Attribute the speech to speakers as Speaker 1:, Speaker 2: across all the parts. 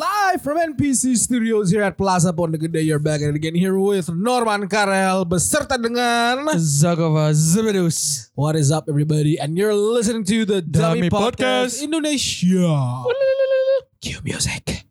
Speaker 1: Live from NPC Studios here at Plaza Pondegede, you're back and again here with Norman Karel beserta dengan
Speaker 2: Zagova Zebedus.
Speaker 1: What is up everybody and you're listening to the Dummy,
Speaker 2: Dummy
Speaker 1: Podcast,
Speaker 2: Podcast.
Speaker 1: Indonesia. Cue music.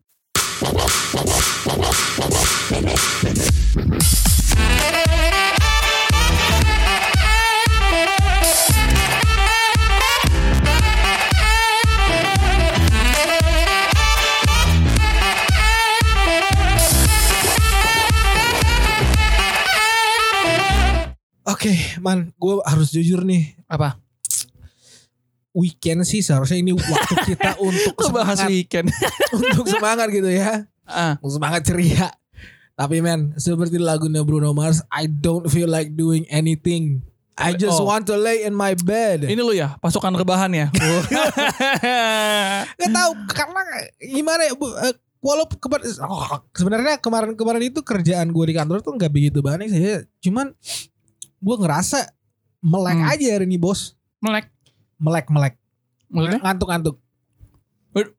Speaker 1: Oke, man, gue harus jujur nih.
Speaker 2: Apa?
Speaker 1: Weekend sih seharusnya ini waktu kita untuk
Speaker 2: Lu bahas
Speaker 1: semangat,
Speaker 2: weekend.
Speaker 1: untuk semangat gitu ya,
Speaker 2: ah,
Speaker 1: untuk semangat ceria. Tapi man, seperti lagunya Bruno Mars, I don't feel like doing anything. I just
Speaker 2: Oh.
Speaker 1: want to lay in my bed.
Speaker 2: ini lu ya, pasukan rebahan ya.
Speaker 1: Gak tahu karena gimana ya, Bu, eh, walaupun kemar- oh, sebenarnya kemarin-kemarin itu kerjaan gue di kantor tuh nggak begitu banyak sih, ya. cuman gue ngerasa melek
Speaker 2: Hmm.
Speaker 1: aja hari ini bos,
Speaker 2: melek.
Speaker 1: melek melek,
Speaker 2: Maksudnya?
Speaker 1: ngantuk-ngantuk,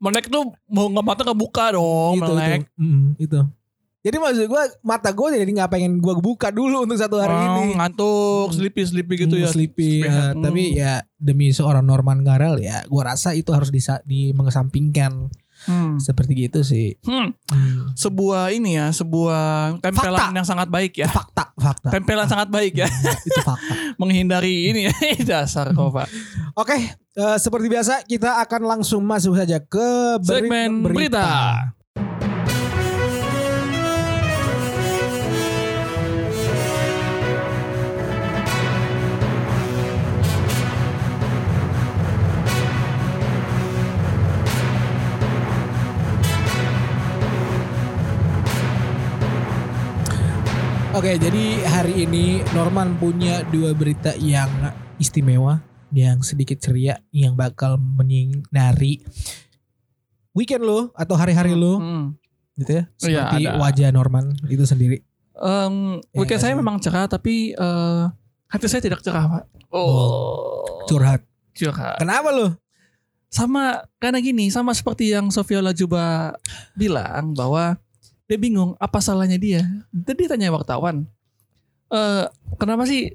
Speaker 2: Melek tuh mau nggak mata kebuka dong,
Speaker 1: gitu,
Speaker 2: Oh, melek.
Speaker 1: Itu. Mm, itu. Jadi maksud gue mata gue jadi nggak pengen gue buka dulu untuk satu hari
Speaker 2: Oh,
Speaker 1: ini.
Speaker 2: ngantuk,
Speaker 1: Hmm.
Speaker 2: sleepy sleepy gitu
Speaker 1: Hmm,
Speaker 2: ya.
Speaker 1: sleepy, ya.
Speaker 2: Sleepy head.
Speaker 1: tapi
Speaker 2: Hmm.
Speaker 1: ya demi seorang Norman Garel ya, gue rasa itu harus disa- di mengesampingkan
Speaker 2: Hmm.
Speaker 1: seperti gitu sih.
Speaker 2: Hmm,
Speaker 1: Hmm.
Speaker 2: Sebuah ini ya, sebuah tempelan
Speaker 1: Fakta.
Speaker 2: yang sangat baik ya.
Speaker 1: Eh, Fakta, fakta. Mm,
Speaker 2: Tempelan sangat baik ya,
Speaker 1: itu fakta.
Speaker 2: menghindari ini ya. dasar kau pak.
Speaker 1: Oke, eh, seperti biasa kita akan langsung masuk saja ke beri-
Speaker 2: Segmen berita.
Speaker 1: Oke, jadi hari ini Norman punya dua berita yang istimewa, yang sedikit ceria, yang bakal menyinari weekend lo atau hari-hari lo
Speaker 2: Hmm.
Speaker 1: gitu ya.
Speaker 2: Iya,
Speaker 1: Seperti
Speaker 2: ada.
Speaker 1: wajah Norman itu sendiri.
Speaker 2: Em, weekend
Speaker 1: nggak
Speaker 2: saya
Speaker 1: sih?
Speaker 2: memang cerah tapi eh, hati saya tidak cerah pak. Oh,
Speaker 1: Curhat.
Speaker 2: curhat.
Speaker 1: Kenapa lo?
Speaker 2: Sama karena gini, sama seperti yang Sofia Lajuba bilang bahwa dia bingung apa salahnya dia. Jadi tanya wartawan, eh kenapa sih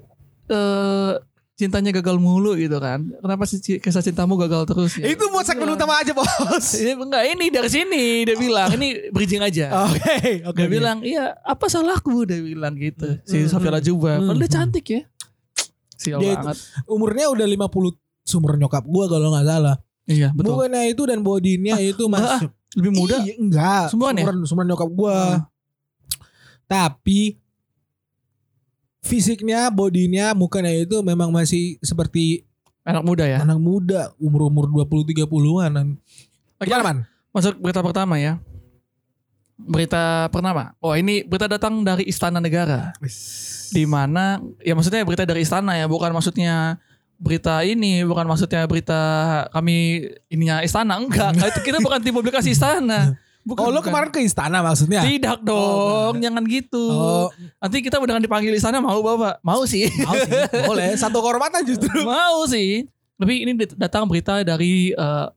Speaker 2: eh cintanya gagal mulu gitu kan? Kenapa sih ci- kisah cintamu gagal terus? ya?
Speaker 1: Itu buat segmen
Speaker 2: Iya.
Speaker 1: utama aja, Bos.
Speaker 2: Ini enggak ini dari sini dia bilang ini bridging aja.
Speaker 1: Oh, Oke, oke.
Speaker 2: Dia bilang, iya apa salahku? Dia bilang gitu. Si
Speaker 1: Hmm.
Speaker 2: Sofia Lajuba. Padahal dia
Speaker 1: Hmm.
Speaker 2: cantik ya. Sial
Speaker 1: Dia itu-
Speaker 2: banget.
Speaker 1: Umurnya udah 50 sumur nyokap gua kalau nggak salah.
Speaker 2: Iya betul.
Speaker 1: Bukannya itu dan bodinya itu
Speaker 2: ah,
Speaker 1: masih
Speaker 2: Lebih muda.
Speaker 1: Iya, enggak.
Speaker 2: Sumuran ya?
Speaker 1: Sumuran, sumuran nyokap gua.
Speaker 2: Ah.
Speaker 1: Tapi fisiknya, bodinya, mukanya itu memang masih seperti
Speaker 2: Anak muda ya.
Speaker 1: anak muda, umur-umur 20 30-an.
Speaker 2: Oke,
Speaker 1: Gimana, Man?
Speaker 2: masuk berita pertama ya. Berita pertama. Oh ini berita datang dari Istana Negara. Di mana, ya maksudnya berita dari Istana ya. Bukan maksudnya berita ini. Bukan maksudnya berita kami ininya Istana. Enggak. Itu kita bukan di publikasi Istana. Bukan,
Speaker 1: Oh, lo
Speaker 2: bukan.
Speaker 1: kemarin ke istana maksudnya?
Speaker 2: Tidak
Speaker 1: Oh,
Speaker 2: dong, jangan gitu.
Speaker 1: Oh,
Speaker 2: Nanti kita beneran dipanggil istana mau bapak? Mau sih.
Speaker 1: mau sih, boleh. Satu kehormatan justru.
Speaker 2: mau sih. Tapi ini dat- datang berita dari eh,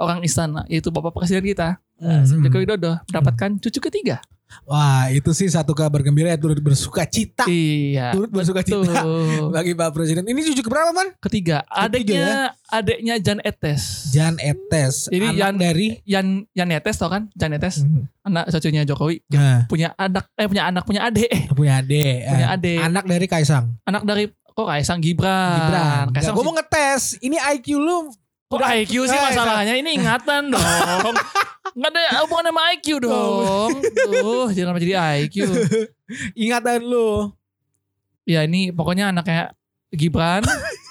Speaker 2: orang istana yaitu bapak presiden kita eh,
Speaker 1: Mhm.
Speaker 2: Joko Widodo mendapatkan cucu ketiga.
Speaker 1: Hmm. Wah, itu sih satu kabar gembira ya, turut bersuka cita.
Speaker 2: Iya.
Speaker 1: Turut bersuka cita
Speaker 2: Tuh.
Speaker 1: bagi Pak Presiden. Ini cucu keberapa, Man?
Speaker 2: Ketiga,
Speaker 1: ya?
Speaker 2: adiknya adiknya Jan Etes.
Speaker 1: Jan Etes. anak
Speaker 2: Jadi Jan-
Speaker 1: dari
Speaker 2: Jan Jan Etes tau kan? Jan Etes
Speaker 1: Hmm.
Speaker 2: anak cucunya Jokowi
Speaker 1: Nah,
Speaker 2: punya anak eh punya anak punya adik
Speaker 1: punya adik.
Speaker 2: punya
Speaker 1: Eh,
Speaker 2: adik
Speaker 1: Anak dari Kaisang.
Speaker 2: anak dari kok Kaisang Gibran.
Speaker 1: Gibran.
Speaker 2: Kaisang
Speaker 1: gue
Speaker 2: sih-
Speaker 1: mau ngetes. Ini IQ lu.
Speaker 2: Kok
Speaker 1: Udah.
Speaker 2: IQ sih
Speaker 1: Eh,
Speaker 2: masalahnya? Ini ingatan dong. Nggak ada hubungan sama IQ dong. Tuh, jangan sampai jadi IQ.
Speaker 1: Ingatan lu.
Speaker 2: Ya ini pokoknya anaknya Gibran.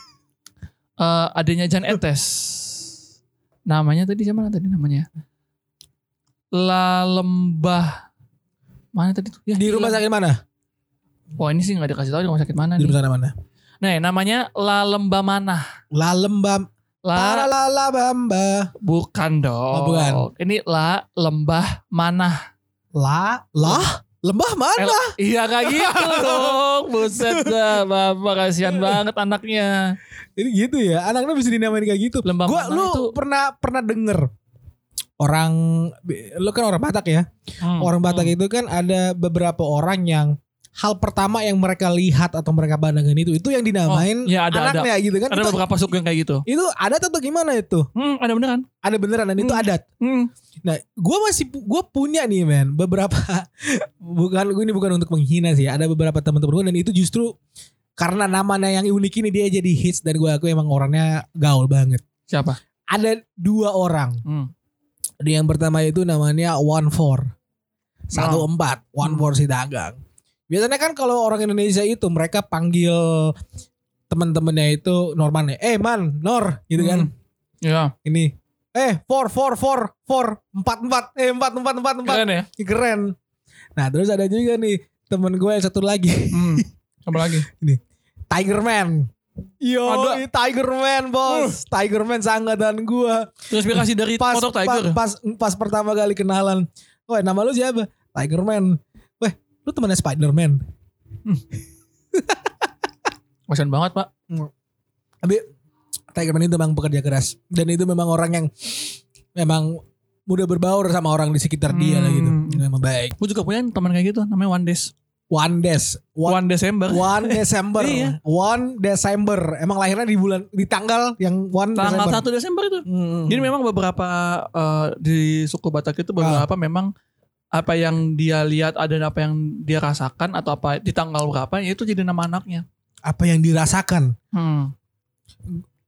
Speaker 2: eh adanya Jan Etes. Namanya tadi siapa tadi namanya? Lalembah. Mana tadi tuh? Ya,
Speaker 1: Di rumah sakit mana?
Speaker 2: Wah ini sih nggak dikasih tahu di rumah sakit mana
Speaker 1: Di
Speaker 2: nih.
Speaker 1: rumah sakit mana?
Speaker 2: Nah namanya Lalembah Manah.
Speaker 1: Lalembam.
Speaker 2: La,
Speaker 1: Paralalabamba.
Speaker 2: bukan dong.
Speaker 1: Oh, bukan.
Speaker 2: Ini La Lembah Manah.
Speaker 1: La. Lah? Lembah mana?
Speaker 2: Iya kayak gitu dong. Buset dah, Bapak kasihan banget anaknya.
Speaker 1: Eh, Ini gitu ya. Anaknya bisa dinamain kayak gitu.
Speaker 2: Lembah
Speaker 1: Gua
Speaker 2: mana
Speaker 1: lu
Speaker 2: itu?
Speaker 1: pernah pernah denger orang lo kan orang Batak ya.
Speaker 2: Hmm.
Speaker 1: Orang Batak itu kan ada beberapa orang yang hal pertama yang mereka lihat atau mereka pandangin itu itu yang dinamain
Speaker 2: ya ada ada.
Speaker 1: anaknya gitu kan.
Speaker 2: Ada
Speaker 1: itu,
Speaker 2: beberapa suku yang kayak gitu.
Speaker 1: itu adat atau gimana itu?
Speaker 2: Hmm, ada beneran.
Speaker 1: Ada beneran dan itu
Speaker 2: Hmm.
Speaker 1: adat.
Speaker 2: Hmm.
Speaker 1: Nah, gue masih gue punya nih men beberapa bukan ini bukan untuk menghina sih. ya. Ada beberapa teman-teman gue dan itu justru karena namanya yang unik ini dia jadi hits dan gue aku emang orangnya gaul banget.
Speaker 2: Siapa?
Speaker 1: Ada dua orang.
Speaker 2: Hmm.
Speaker 1: Yang pertama itu namanya One Four satu empat One
Speaker 2: Hmm.
Speaker 1: Four si dagang. Biasanya kan kalau orang Indonesia itu mereka panggil teman-temannya itu Normannya, eh man, Nor, gitu kan
Speaker 2: Ya,
Speaker 1: ini eh four four four four empat empat eh empat empat empat empat
Speaker 2: keren ya.
Speaker 1: Ih, keren nah terus ada juga nih temen gue yang satu lagi
Speaker 2: Hmm. Apa lagi?
Speaker 1: Tiger Man Yo,
Speaker 2: Ada.
Speaker 1: ih, Tiger Man bos, Tiger Man sangatan gue.
Speaker 2: Transpirasi dari
Speaker 1: Pas,
Speaker 2: motor
Speaker 1: pas
Speaker 2: Tiger. ya?
Speaker 1: pas pas pertama kali kenalan, wah nama lu siapa? Tiger Man. Weh, lu temennya Spider Man.
Speaker 2: Kasian banget, Pak.
Speaker 1: Tapi Tiger Man itu memang pekerja keras dan itu memang orang yang memang mudah berbaur sama orang di sekitar dia lah gitu.
Speaker 2: Hmm.
Speaker 1: Memang baik.
Speaker 2: Gue juga punya teman kayak gitu namanya One Days.
Speaker 1: One Days, One
Speaker 2: One Desember.
Speaker 1: 1 Desember.
Speaker 2: Iya.
Speaker 1: 1 Desember. Emang lahirnya di bulan di tanggal yang 1
Speaker 2: Tanggal
Speaker 1: Desember.
Speaker 2: 1 Desember itu.
Speaker 1: Hmm.
Speaker 2: Jadi memang beberapa eh, di suku Batak itu beberapa
Speaker 1: Ah.
Speaker 2: memang apa yang dia lihat ada apa yang dia rasakan atau apa di tanggal berapa ya itu jadi nama anaknya.
Speaker 1: apa yang dirasakan?
Speaker 2: Hmm.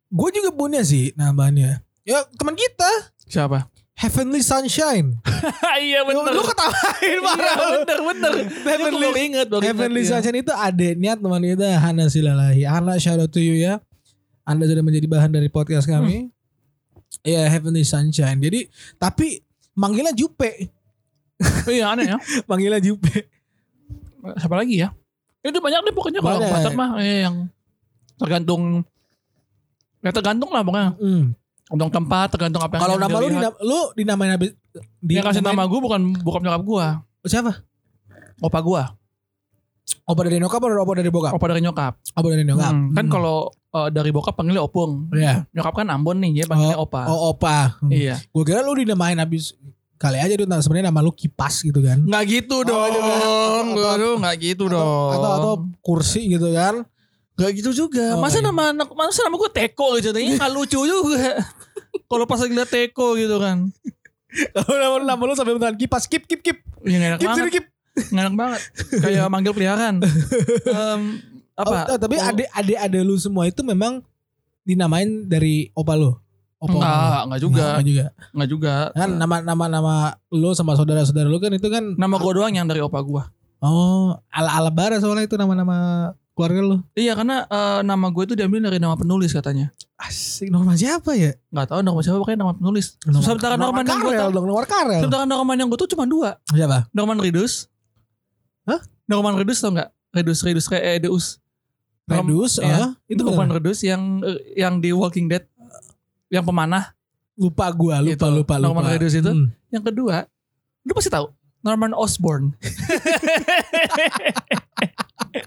Speaker 1: Gue juga punya sih namanya. Ya teman kita
Speaker 2: Siapa?
Speaker 1: Heavenly Sunshine.
Speaker 2: iya
Speaker 1: Lu, lu kan- ketawain
Speaker 2: Iya,
Speaker 1: parah. lu.
Speaker 2: bener bener. Itu
Speaker 1: Heavenly,
Speaker 2: baru inget baru inget,
Speaker 1: Heavenly
Speaker 2: iya.
Speaker 1: Sunshine itu adiknya teman kita Hana Silalahi. Hana shout out to you ya. Anda sudah menjadi bahan dari podcast
Speaker 2: Hmm.
Speaker 1: kami. Ya Heavenly Sunshine. Jadi tapi manggilnya Jupe,
Speaker 2: Iya aneh ya.
Speaker 1: manggilnya Jupe.
Speaker 2: Siapa lagi ya? Itu banyak deh pokoknya kalau
Speaker 1: Banyak.
Speaker 2: Batak mah eh, yang tergantung ya tergantung lah pokoknya.
Speaker 1: Hmm.
Speaker 2: Tergantung tempat, tergantung apa yang
Speaker 1: Kalau
Speaker 2: yang
Speaker 1: nama lu
Speaker 2: dilihat.
Speaker 1: dinam, lu dinamain habis di
Speaker 2: yang kasih nama gue bukan bokap nyokap gue,
Speaker 1: siapa?
Speaker 2: opa gue,
Speaker 1: Opa dari nyokap atau opa dari bokap?
Speaker 2: opa dari nyokap.
Speaker 1: Opa dari nyokap.
Speaker 2: Hmm, Kan
Speaker 1: Hmm.
Speaker 2: kalau eh, dari bokap panggilnya opung,
Speaker 1: ya.
Speaker 2: nyokap kan Ambon nih, dia panggilnya opa.
Speaker 1: Oh, opa. Iya.
Speaker 2: Iya.
Speaker 1: Gue kira lu dinamain habis kali aja itu sebenarnya nama lu kipas gitu kan.
Speaker 2: Nggak gitu
Speaker 1: Oh, dong. iya. Atau-
Speaker 2: Aduh, nggak gitu
Speaker 1: atau-
Speaker 2: dong.
Speaker 1: Atau atau kursi gitu kan.
Speaker 2: Gak gitu
Speaker 1: Oh,
Speaker 2: juga. masa
Speaker 1: iya.
Speaker 2: nama anak, masa nama gue Teko gitu. Ini gak lucu juga. Kalau pas lagi liat Teko gitu kan.
Speaker 1: Kalau nama, nama lu sampai bentar kipas kip kip kip.
Speaker 2: Ya gak enak
Speaker 1: Kip
Speaker 2: banget.
Speaker 1: sini kip.
Speaker 2: Gak enak banget. Kayak manggil peliharaan. Em, apa?
Speaker 1: Oh, oh, tapi
Speaker 2: Oh,
Speaker 1: adik adik adik lu semua itu memang dinamain dari opa lu. Opa.
Speaker 2: Enggak, enggak Hmm. Ah, juga. Ah.
Speaker 1: Nama juga.
Speaker 2: Enggak juga.
Speaker 1: Kan nama nama nama lu sama saudara-saudara lu kan itu kan
Speaker 2: Nama gue doang yang dari opa gue.
Speaker 1: Oh, ala-ala bara soalnya itu nama-nama keluarga lu.
Speaker 2: Iya karena eh, nama gue itu diambil dari nama penulis katanya.
Speaker 1: Asik, Norman siapa ya?
Speaker 2: Gak tahu nama siapa pokoknya nama penulis. Sementara Norman, yang gue
Speaker 1: Karel
Speaker 2: tahu.
Speaker 1: dong, Norman Karel.
Speaker 2: Sementara Norman yang gue tuh cuma dua.
Speaker 1: Siapa?
Speaker 2: Norman Reedus.
Speaker 1: Hah?
Speaker 2: Norman Reedus tau gak? Reedus, Reedus, kayak eh, Deus. Norm-
Speaker 1: Redus,
Speaker 2: Iya.
Speaker 1: ah,
Speaker 2: Itu
Speaker 1: itu
Speaker 2: Norman
Speaker 1: beneran.
Speaker 2: Reedus yang eh, yang di Walking Dead yang pemanah.
Speaker 1: Lupa gua, lupa,
Speaker 2: Itu,
Speaker 1: lupa, lupa.
Speaker 2: Norman Reedus itu.
Speaker 1: Hmm.
Speaker 2: Yang kedua, lu pasti tahu Norman Osborn.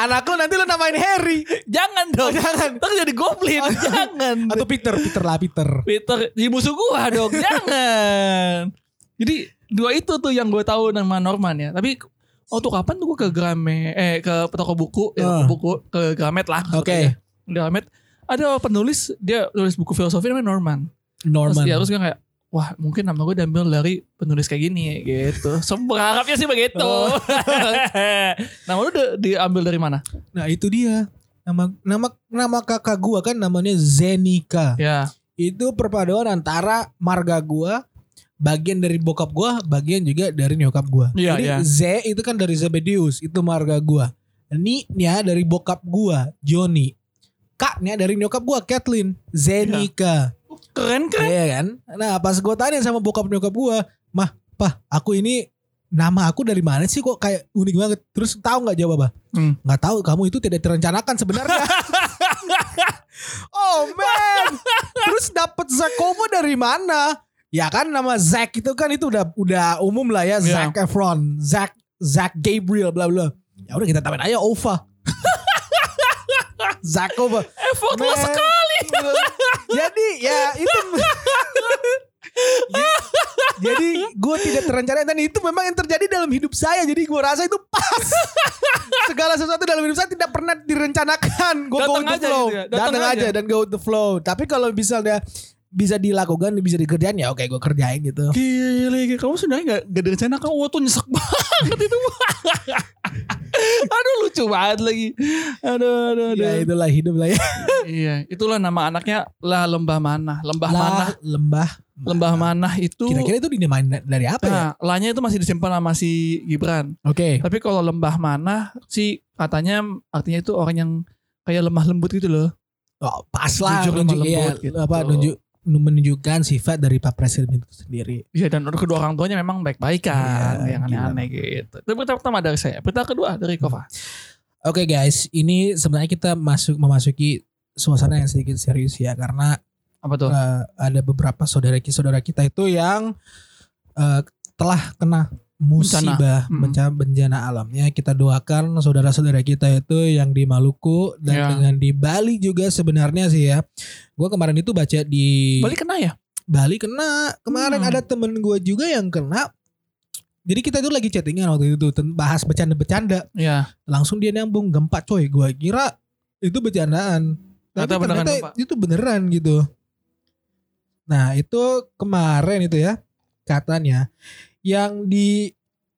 Speaker 1: Anakku nanti lu namain Harry. Oh,
Speaker 2: jangan dong.
Speaker 1: jangan.
Speaker 2: Ntar jadi goblin.
Speaker 1: Oh,
Speaker 2: jangan.
Speaker 1: Atau Peter, Peter lah Peter.
Speaker 2: Peter di musuh gua dong. jangan. Jadi dua itu tuh yang gue tahu nama Norman ya. Tapi waktu kapan tuh gue ke Grame eh ke toko buku, ya,
Speaker 1: Ah.
Speaker 2: toko buku ke Gramet lah. Iya.
Speaker 1: Oke,
Speaker 2: Gramet ada penulis dia nulis buku filosofi namanya Norman.
Speaker 1: Norman.
Speaker 2: Terus dia harus kayak wah mungkin nama gue diambil dari penulis kayak gini gitu. So, berharapnya sih begitu.
Speaker 1: Oh.
Speaker 2: nama lu di- diambil dari mana?
Speaker 1: Nah, itu dia. Nama nama nama kakak gua kan namanya Zenika.
Speaker 2: Ya.
Speaker 1: Itu perpaduan antara marga gua bagian dari bokap gua, bagian juga dari nyokap gua.
Speaker 2: Iya,
Speaker 1: Jadi
Speaker 2: iya.
Speaker 1: Z itu kan dari Zebedius, itu marga gua. Ni-nya dari bokap gua, Joni. Kaknya dari nyokap gua, Kathleen, Zenika. Iya
Speaker 2: Keren keren.
Speaker 1: kan? Nah, pas gua tanya sama bokap nyokap gua, "Mah, Pah, aku ini nama aku dari mana sih kok kayak unik banget?" Terus tahu nggak jawaban?
Speaker 2: Hmm.
Speaker 1: Nggak tahu, kamu itu tidak direncanakan sebenarnya. oh, man. Terus dapat Zakomo dari mana? Ya kan nama Zack itu kan itu udah udah umum lah ya
Speaker 2: Iya.
Speaker 1: Zack Efron, Zack Zack Gabriel bla bla. Ya udah kita tambahin aja Ova. Zack Ova.
Speaker 2: Effortless
Speaker 1: Man.
Speaker 2: sekali.
Speaker 1: Jadi ya itu Ya, jadi gue tidak terencana dan itu memang yang terjadi dalam hidup saya. Jadi gue rasa itu pas. Segala sesuatu dalam hidup saya tidak pernah direncanakan. Gue go
Speaker 2: Datang
Speaker 1: with the
Speaker 2: aja
Speaker 1: flow.
Speaker 2: gitu ya, datang
Speaker 1: Datang aja.
Speaker 2: aja.
Speaker 1: dan go with the flow. Tapi kalau misalnya bisa dilakukan, bisa dikerjain ya oke gue kerjain gitu.
Speaker 2: Gile, gile. kamu sebenarnya gak, gak direncana kan Wah tuh nyesek banget itu Aduh lucu banget lagi Aduh aduh aduh
Speaker 1: Ya itulah hidup lah ya.
Speaker 2: Iya itulah nama anaknya Lah Lembah Manah Lembah
Speaker 1: Lah,
Speaker 2: Manah
Speaker 1: lembah.
Speaker 2: Lembah Manah itu
Speaker 1: Kira-kira itu dinamain dari apa ya?
Speaker 2: Nah, lahnya itu masih disimpan sama si Gibran.
Speaker 1: Oke.
Speaker 2: Tapi kalau lembah manah sih katanya artinya itu orang yang kayak lemah lembut gitu loh.
Speaker 1: Oh, pas lah.
Speaker 2: Jujur
Speaker 1: nunjuk,
Speaker 2: lemah
Speaker 1: ya,
Speaker 2: lembut gitu.
Speaker 1: apa, nunjuk, menunjukkan sifat dari Pak Presiden itu sendiri.
Speaker 2: Iya dan kedua orang tuanya memang baik-baik kan,
Speaker 1: Iya,
Speaker 2: yang aneh-aneh gitu. Itu berita pertama dari saya. Berita kedua dari Kova.
Speaker 1: Oke guys, ini sebenarnya kita masuk memasuki suasana yang sedikit serius ya karena
Speaker 2: Apa tuh?
Speaker 1: eh, ada beberapa saudara kita saudara kita itu yang eh, telah kena musibah
Speaker 2: Mm.
Speaker 1: bencana, bencana alamnya kita doakan saudara-saudara kita itu yang di Maluku dan
Speaker 2: Ya.
Speaker 1: dengan di Bali juga sebenarnya sih ya. Gue kemarin itu baca di
Speaker 2: Balik kena ya?
Speaker 1: Bali kena kemarin
Speaker 2: Hmm.
Speaker 1: ada temen gue juga yang kena. Jadi kita itu lagi chattingan waktu itu ten- bahas bercanda-bercanda
Speaker 2: Iya.
Speaker 1: langsung dia nyambung gempa coy gua kira itu bercandaan tapi
Speaker 2: Ternyata beneran
Speaker 1: ternyata
Speaker 2: gempa.
Speaker 1: itu beneran gitu nah itu kemarin itu ya katanya yang di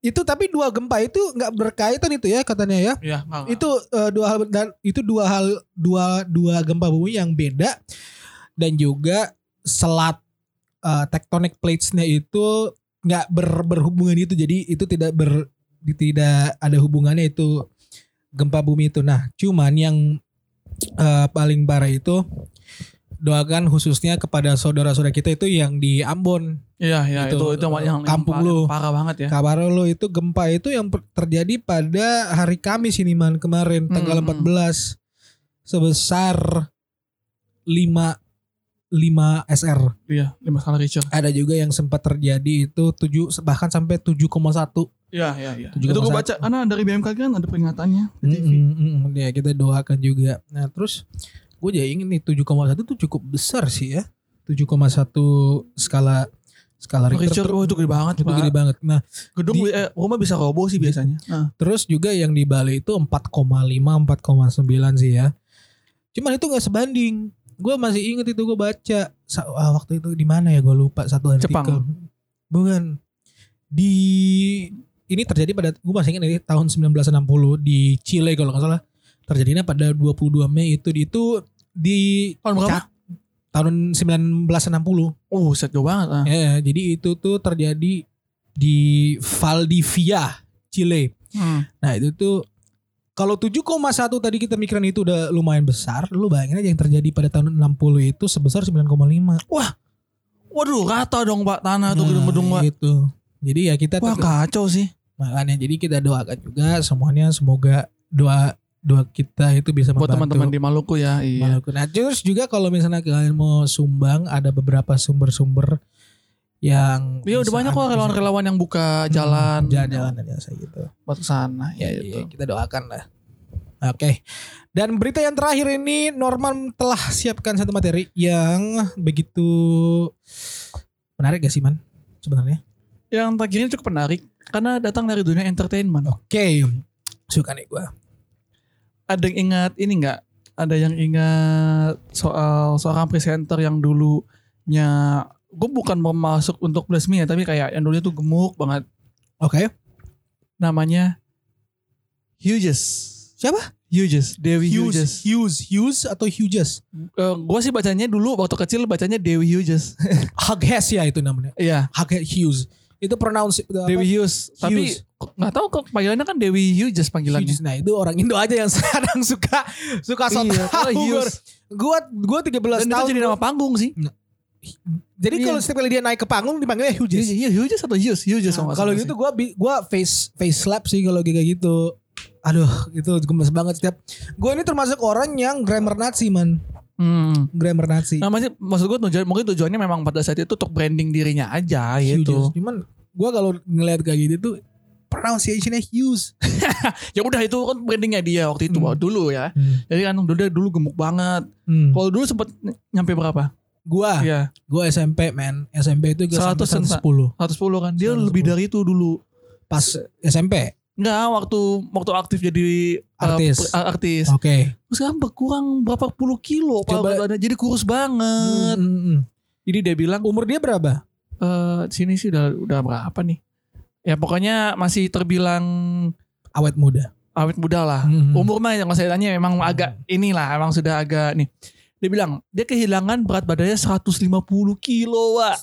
Speaker 1: itu tapi dua gempa itu nggak berkaitan itu ya katanya ya
Speaker 2: Iya.
Speaker 1: itu eh, dua hal dan itu dua hal dua dua gempa bumi yang beda dan juga selat eh, tectonic plates-nya itu nggak ber- berhubungan itu jadi itu tidak ber di- tidak ada hubungannya itu gempa bumi itu nah cuman yang eh, paling parah itu doakan khususnya kepada saudara-saudara kita itu yang di Ambon
Speaker 2: Iya, iya
Speaker 1: itu,
Speaker 2: itu itu yang
Speaker 1: kampung lu.
Speaker 2: yang parah banget ya.
Speaker 1: Kabar lo itu gempa itu yang per- terjadi pada hari Kamis ini man kemarin tanggal
Speaker 2: Hmm,
Speaker 1: 14 sebesar 5 5 SR.
Speaker 2: Iya, lima kali Richard.
Speaker 1: Ada juga yang sempat terjadi itu 7 bahkan sampai 7,1.
Speaker 2: Iya, iya, iya.
Speaker 1: Itu juga
Speaker 2: Itu gue
Speaker 1: masa-
Speaker 2: baca karena dari BMKG kan ada peringatannya di TV.
Speaker 1: Mm, mm, mm, mm. Ya kita doakan juga. Nah, terus gue jadi ingin nih 7,1 itu cukup besar sih ya. 7,1 skala skala Richter.
Speaker 2: Richard,
Speaker 1: tuh-
Speaker 2: oh itu gede banget,
Speaker 1: itu gede
Speaker 2: Pak.
Speaker 1: banget. Nah,
Speaker 2: Gedung
Speaker 1: Di-
Speaker 2: eh, rumah bisa roboh sih biasanya. Nah.
Speaker 1: Terus juga yang di Bali itu 4,5 4,9 sih ya. Cuman itu nggak sebanding. Gue masih inget itu gue baca Sa- ah, waktu itu di mana ya gue lupa satu artikel.
Speaker 2: Jepang.
Speaker 1: Bukan di ini terjadi pada gue masih ingat ini tahun 1960 di Chile kalau nggak salah terjadinya pada 22 Mei itu di itu di
Speaker 2: Tahun berapa?
Speaker 1: Cat- tahun 1960.
Speaker 2: Oh, set jauh banget. Ah.
Speaker 1: Ya, jadi itu tuh terjadi di Valdivia, Chile.
Speaker 2: Hmm.
Speaker 1: Nah itu tuh kalau 7,1 tadi kita mikirin itu udah lumayan besar, lu bayangin aja yang terjadi pada tahun 60 itu sebesar 9,5.
Speaker 2: Waduh, rata dong Pak tanah Ah, tuh
Speaker 1: Nah,
Speaker 2: gedung-gedung Pak.
Speaker 1: gitu. Jadi ya kita
Speaker 2: Wah,
Speaker 1: tetap-
Speaker 2: kacau sih.
Speaker 1: makanya jadi kita doakan juga semuanya semoga doa doa kita itu bisa
Speaker 2: Buat
Speaker 1: membantu
Speaker 2: teman-teman di Maluku ya. Iya.
Speaker 1: Maluku. Nah, terus juga kalau misalnya kalian mau sumbang ada beberapa sumber-sumber yang
Speaker 2: Iya, udah
Speaker 1: bisa-
Speaker 2: banyak kok relawan-relawan yang buka
Speaker 1: Hmm,
Speaker 2: jalan.
Speaker 1: jalan-jalan dan biasa gitu.
Speaker 2: Buat kesana.
Speaker 1: ya
Speaker 2: Ya, itu.
Speaker 1: kita doakan lah. Oke. Dan berita yang terakhir ini Norman telah siapkan satu materi yang begitu menarik gak sih man sebenarnya?
Speaker 2: Yang terakhirnya cukup menarik. Karena datang dari dunia entertainment.
Speaker 1: Oh. Oke. Suka nih gue.
Speaker 2: Ada yang ingat ini nggak? Ada yang ingat soal seorang presenter yang dulunya... Gue bukan mau masuk untuk blasmi ya. Tapi kayak yang dulunya tuh gemuk banget.
Speaker 1: Oke.
Speaker 2: Namanya... Hughes.
Speaker 1: Siapa?
Speaker 2: Hughes. Dewi Hughes.
Speaker 1: Hughes, Hughes, Hughes atau Hughes?
Speaker 2: Eh, gue sih bacanya dulu waktu kecil bacanya Dewi Hughes.
Speaker 1: Hughes ya itu namanya.
Speaker 2: Iya,
Speaker 1: Hughes Hughes. Itu pronounce apa?
Speaker 2: Dewi Hughes. Tapi
Speaker 1: Hughes.
Speaker 2: kok- nggak tahu kok panggilannya kan Dewi Hughes panggilannya.
Speaker 1: Hughes. Nah, itu orang Indo aja yang sekarang suka suka sok
Speaker 2: ya? Iya,
Speaker 1: tahu.
Speaker 2: kalau Hughes.
Speaker 1: Gua gua 13
Speaker 2: Dan itu
Speaker 1: tahun.
Speaker 2: jadi nama panggung sih.
Speaker 1: Jadi kalau
Speaker 2: Iya.
Speaker 1: setiap kali dia naik ke panggung dipanggilnya Hughes.
Speaker 2: Iya, Hughes atau Hughes? Hughes sama
Speaker 1: Nah, kalau gitu gue gua face face slap sih kalau kayak gitu. Aduh, itu gemes banget setiap. Gue ini termasuk orang yang grammar Nazi man,
Speaker 2: Hmm.
Speaker 1: grammar Nazi.
Speaker 2: Namanya maksud gue tujuan mungkin tujuannya memang pada saat itu untuk branding dirinya aja
Speaker 1: Hughes.
Speaker 2: gitu.
Speaker 1: Cuman gue kalau ngeliat kayak gitu tuh pronunciationnya Hughes.
Speaker 2: Ya udah itu kan brandingnya dia waktu itu
Speaker 1: Hmm.
Speaker 2: dulu ya. Jadi kan dulu dia dulu gemuk banget.
Speaker 1: Hmm.
Speaker 2: Kalau dulu sempet nyampe berapa?
Speaker 1: Gua,
Speaker 2: Iya,
Speaker 1: gua SMP men. SMP itu gua
Speaker 2: 100
Speaker 1: sampai
Speaker 2: entah.
Speaker 1: 110.
Speaker 2: 110 kan. Dia
Speaker 1: 110.
Speaker 2: lebih dari itu dulu.
Speaker 1: Pas SMP.
Speaker 2: Enggak, waktu waktu aktif jadi uh,
Speaker 1: Artis.
Speaker 2: pe- uh, artis.
Speaker 1: Oke.
Speaker 2: Terus sekarang berkurang berapa puluh kilo Pak,
Speaker 1: Coba-
Speaker 2: badannya. Jadi kurus banget.
Speaker 1: Mm, mm, mm.
Speaker 2: Hmm. Jadi dia bilang
Speaker 1: Umur dia berapa?
Speaker 2: eh sini sih udah udah berapa nih? Ya pokoknya masih terbilang
Speaker 1: Awet muda.
Speaker 2: awet muda lah.
Speaker 1: Mm, mm.
Speaker 2: Umur mah yang saya tanya memang agak inilah emang sudah agak nih. Dia bilang dia kehilangan berat badannya 150 kilo Wak.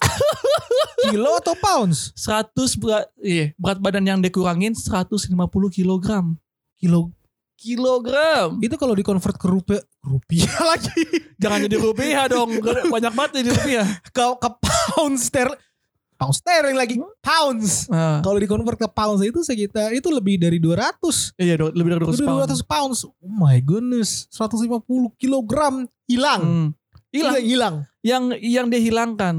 Speaker 1: kilo atau pounds?
Speaker 2: 100 berat iya, berat badan yang dikurangin 150 kilogram.
Speaker 1: Kilo.
Speaker 2: Kilogram.
Speaker 1: Itu kalau dikonvert ke rupiah, rupiah lagi.
Speaker 2: Jangan jadi rupiah dong. Banyak banget jadi rupiah.
Speaker 1: Kalau ke pound sterling. Pound sterling lagi. Pounds.
Speaker 2: Nah,
Speaker 1: Kalau dikonvert ke pounds itu sekitar itu lebih dari 200.
Speaker 2: iya do- lebih dari 200
Speaker 1: Lebih
Speaker 2: pound.
Speaker 1: dari 200 pounds. Oh my goodness. 150 kilogram hilang.
Speaker 2: Hmm. Hilang.
Speaker 1: Itu yang hilang.
Speaker 2: Yang yang dia hilangkan.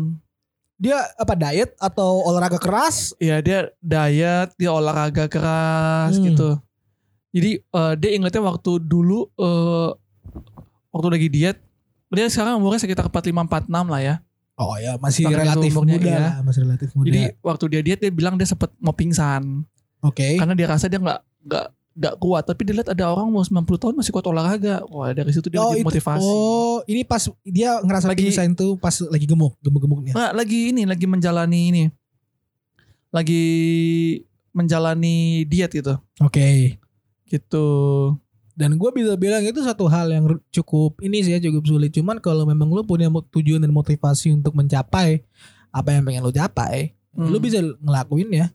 Speaker 1: Dia apa diet atau olahraga keras?
Speaker 2: ya dia diet dia olahraga keras
Speaker 1: Hmm.
Speaker 2: gitu jadi eh, dia ingetnya waktu dulu eh, waktu lagi diet dia sekarang umurnya sekitar 45 46 lah ya
Speaker 1: Oh ya, masih
Speaker 2: Tangan itu
Speaker 1: relatif
Speaker 2: umurnya,
Speaker 1: muda
Speaker 2: iya.
Speaker 1: lah, masih relatif muda.
Speaker 2: jadi waktu dia diet dia bilang dia sempet mau pingsan
Speaker 1: oke.
Speaker 2: karena dia rasa dia nggak nggak nggak kuat tapi dia lihat ada orang mau 90 tahun masih kuat olahraga wah dari situ dia
Speaker 1: Oh, itu-
Speaker 2: lagi motivasi
Speaker 1: Oh, ini pas dia ngerasa
Speaker 2: Lagi-
Speaker 1: pingsan tuh pas lagi gemuk, gemuk-gemuknya.
Speaker 2: Nggak, lagi ini lagi menjalani ini lagi menjalani diet gitu
Speaker 1: Oke.
Speaker 2: gitu
Speaker 1: Dan gue bisa bilang itu satu hal yang ru- cukup ini sih ya cukup sulit. Cuman kalau memang lu punya mo- tujuan dan motivasi untuk mencapai apa yang pengen lu capai,
Speaker 2: Hmm.
Speaker 1: lu bisa ngelakuin ya.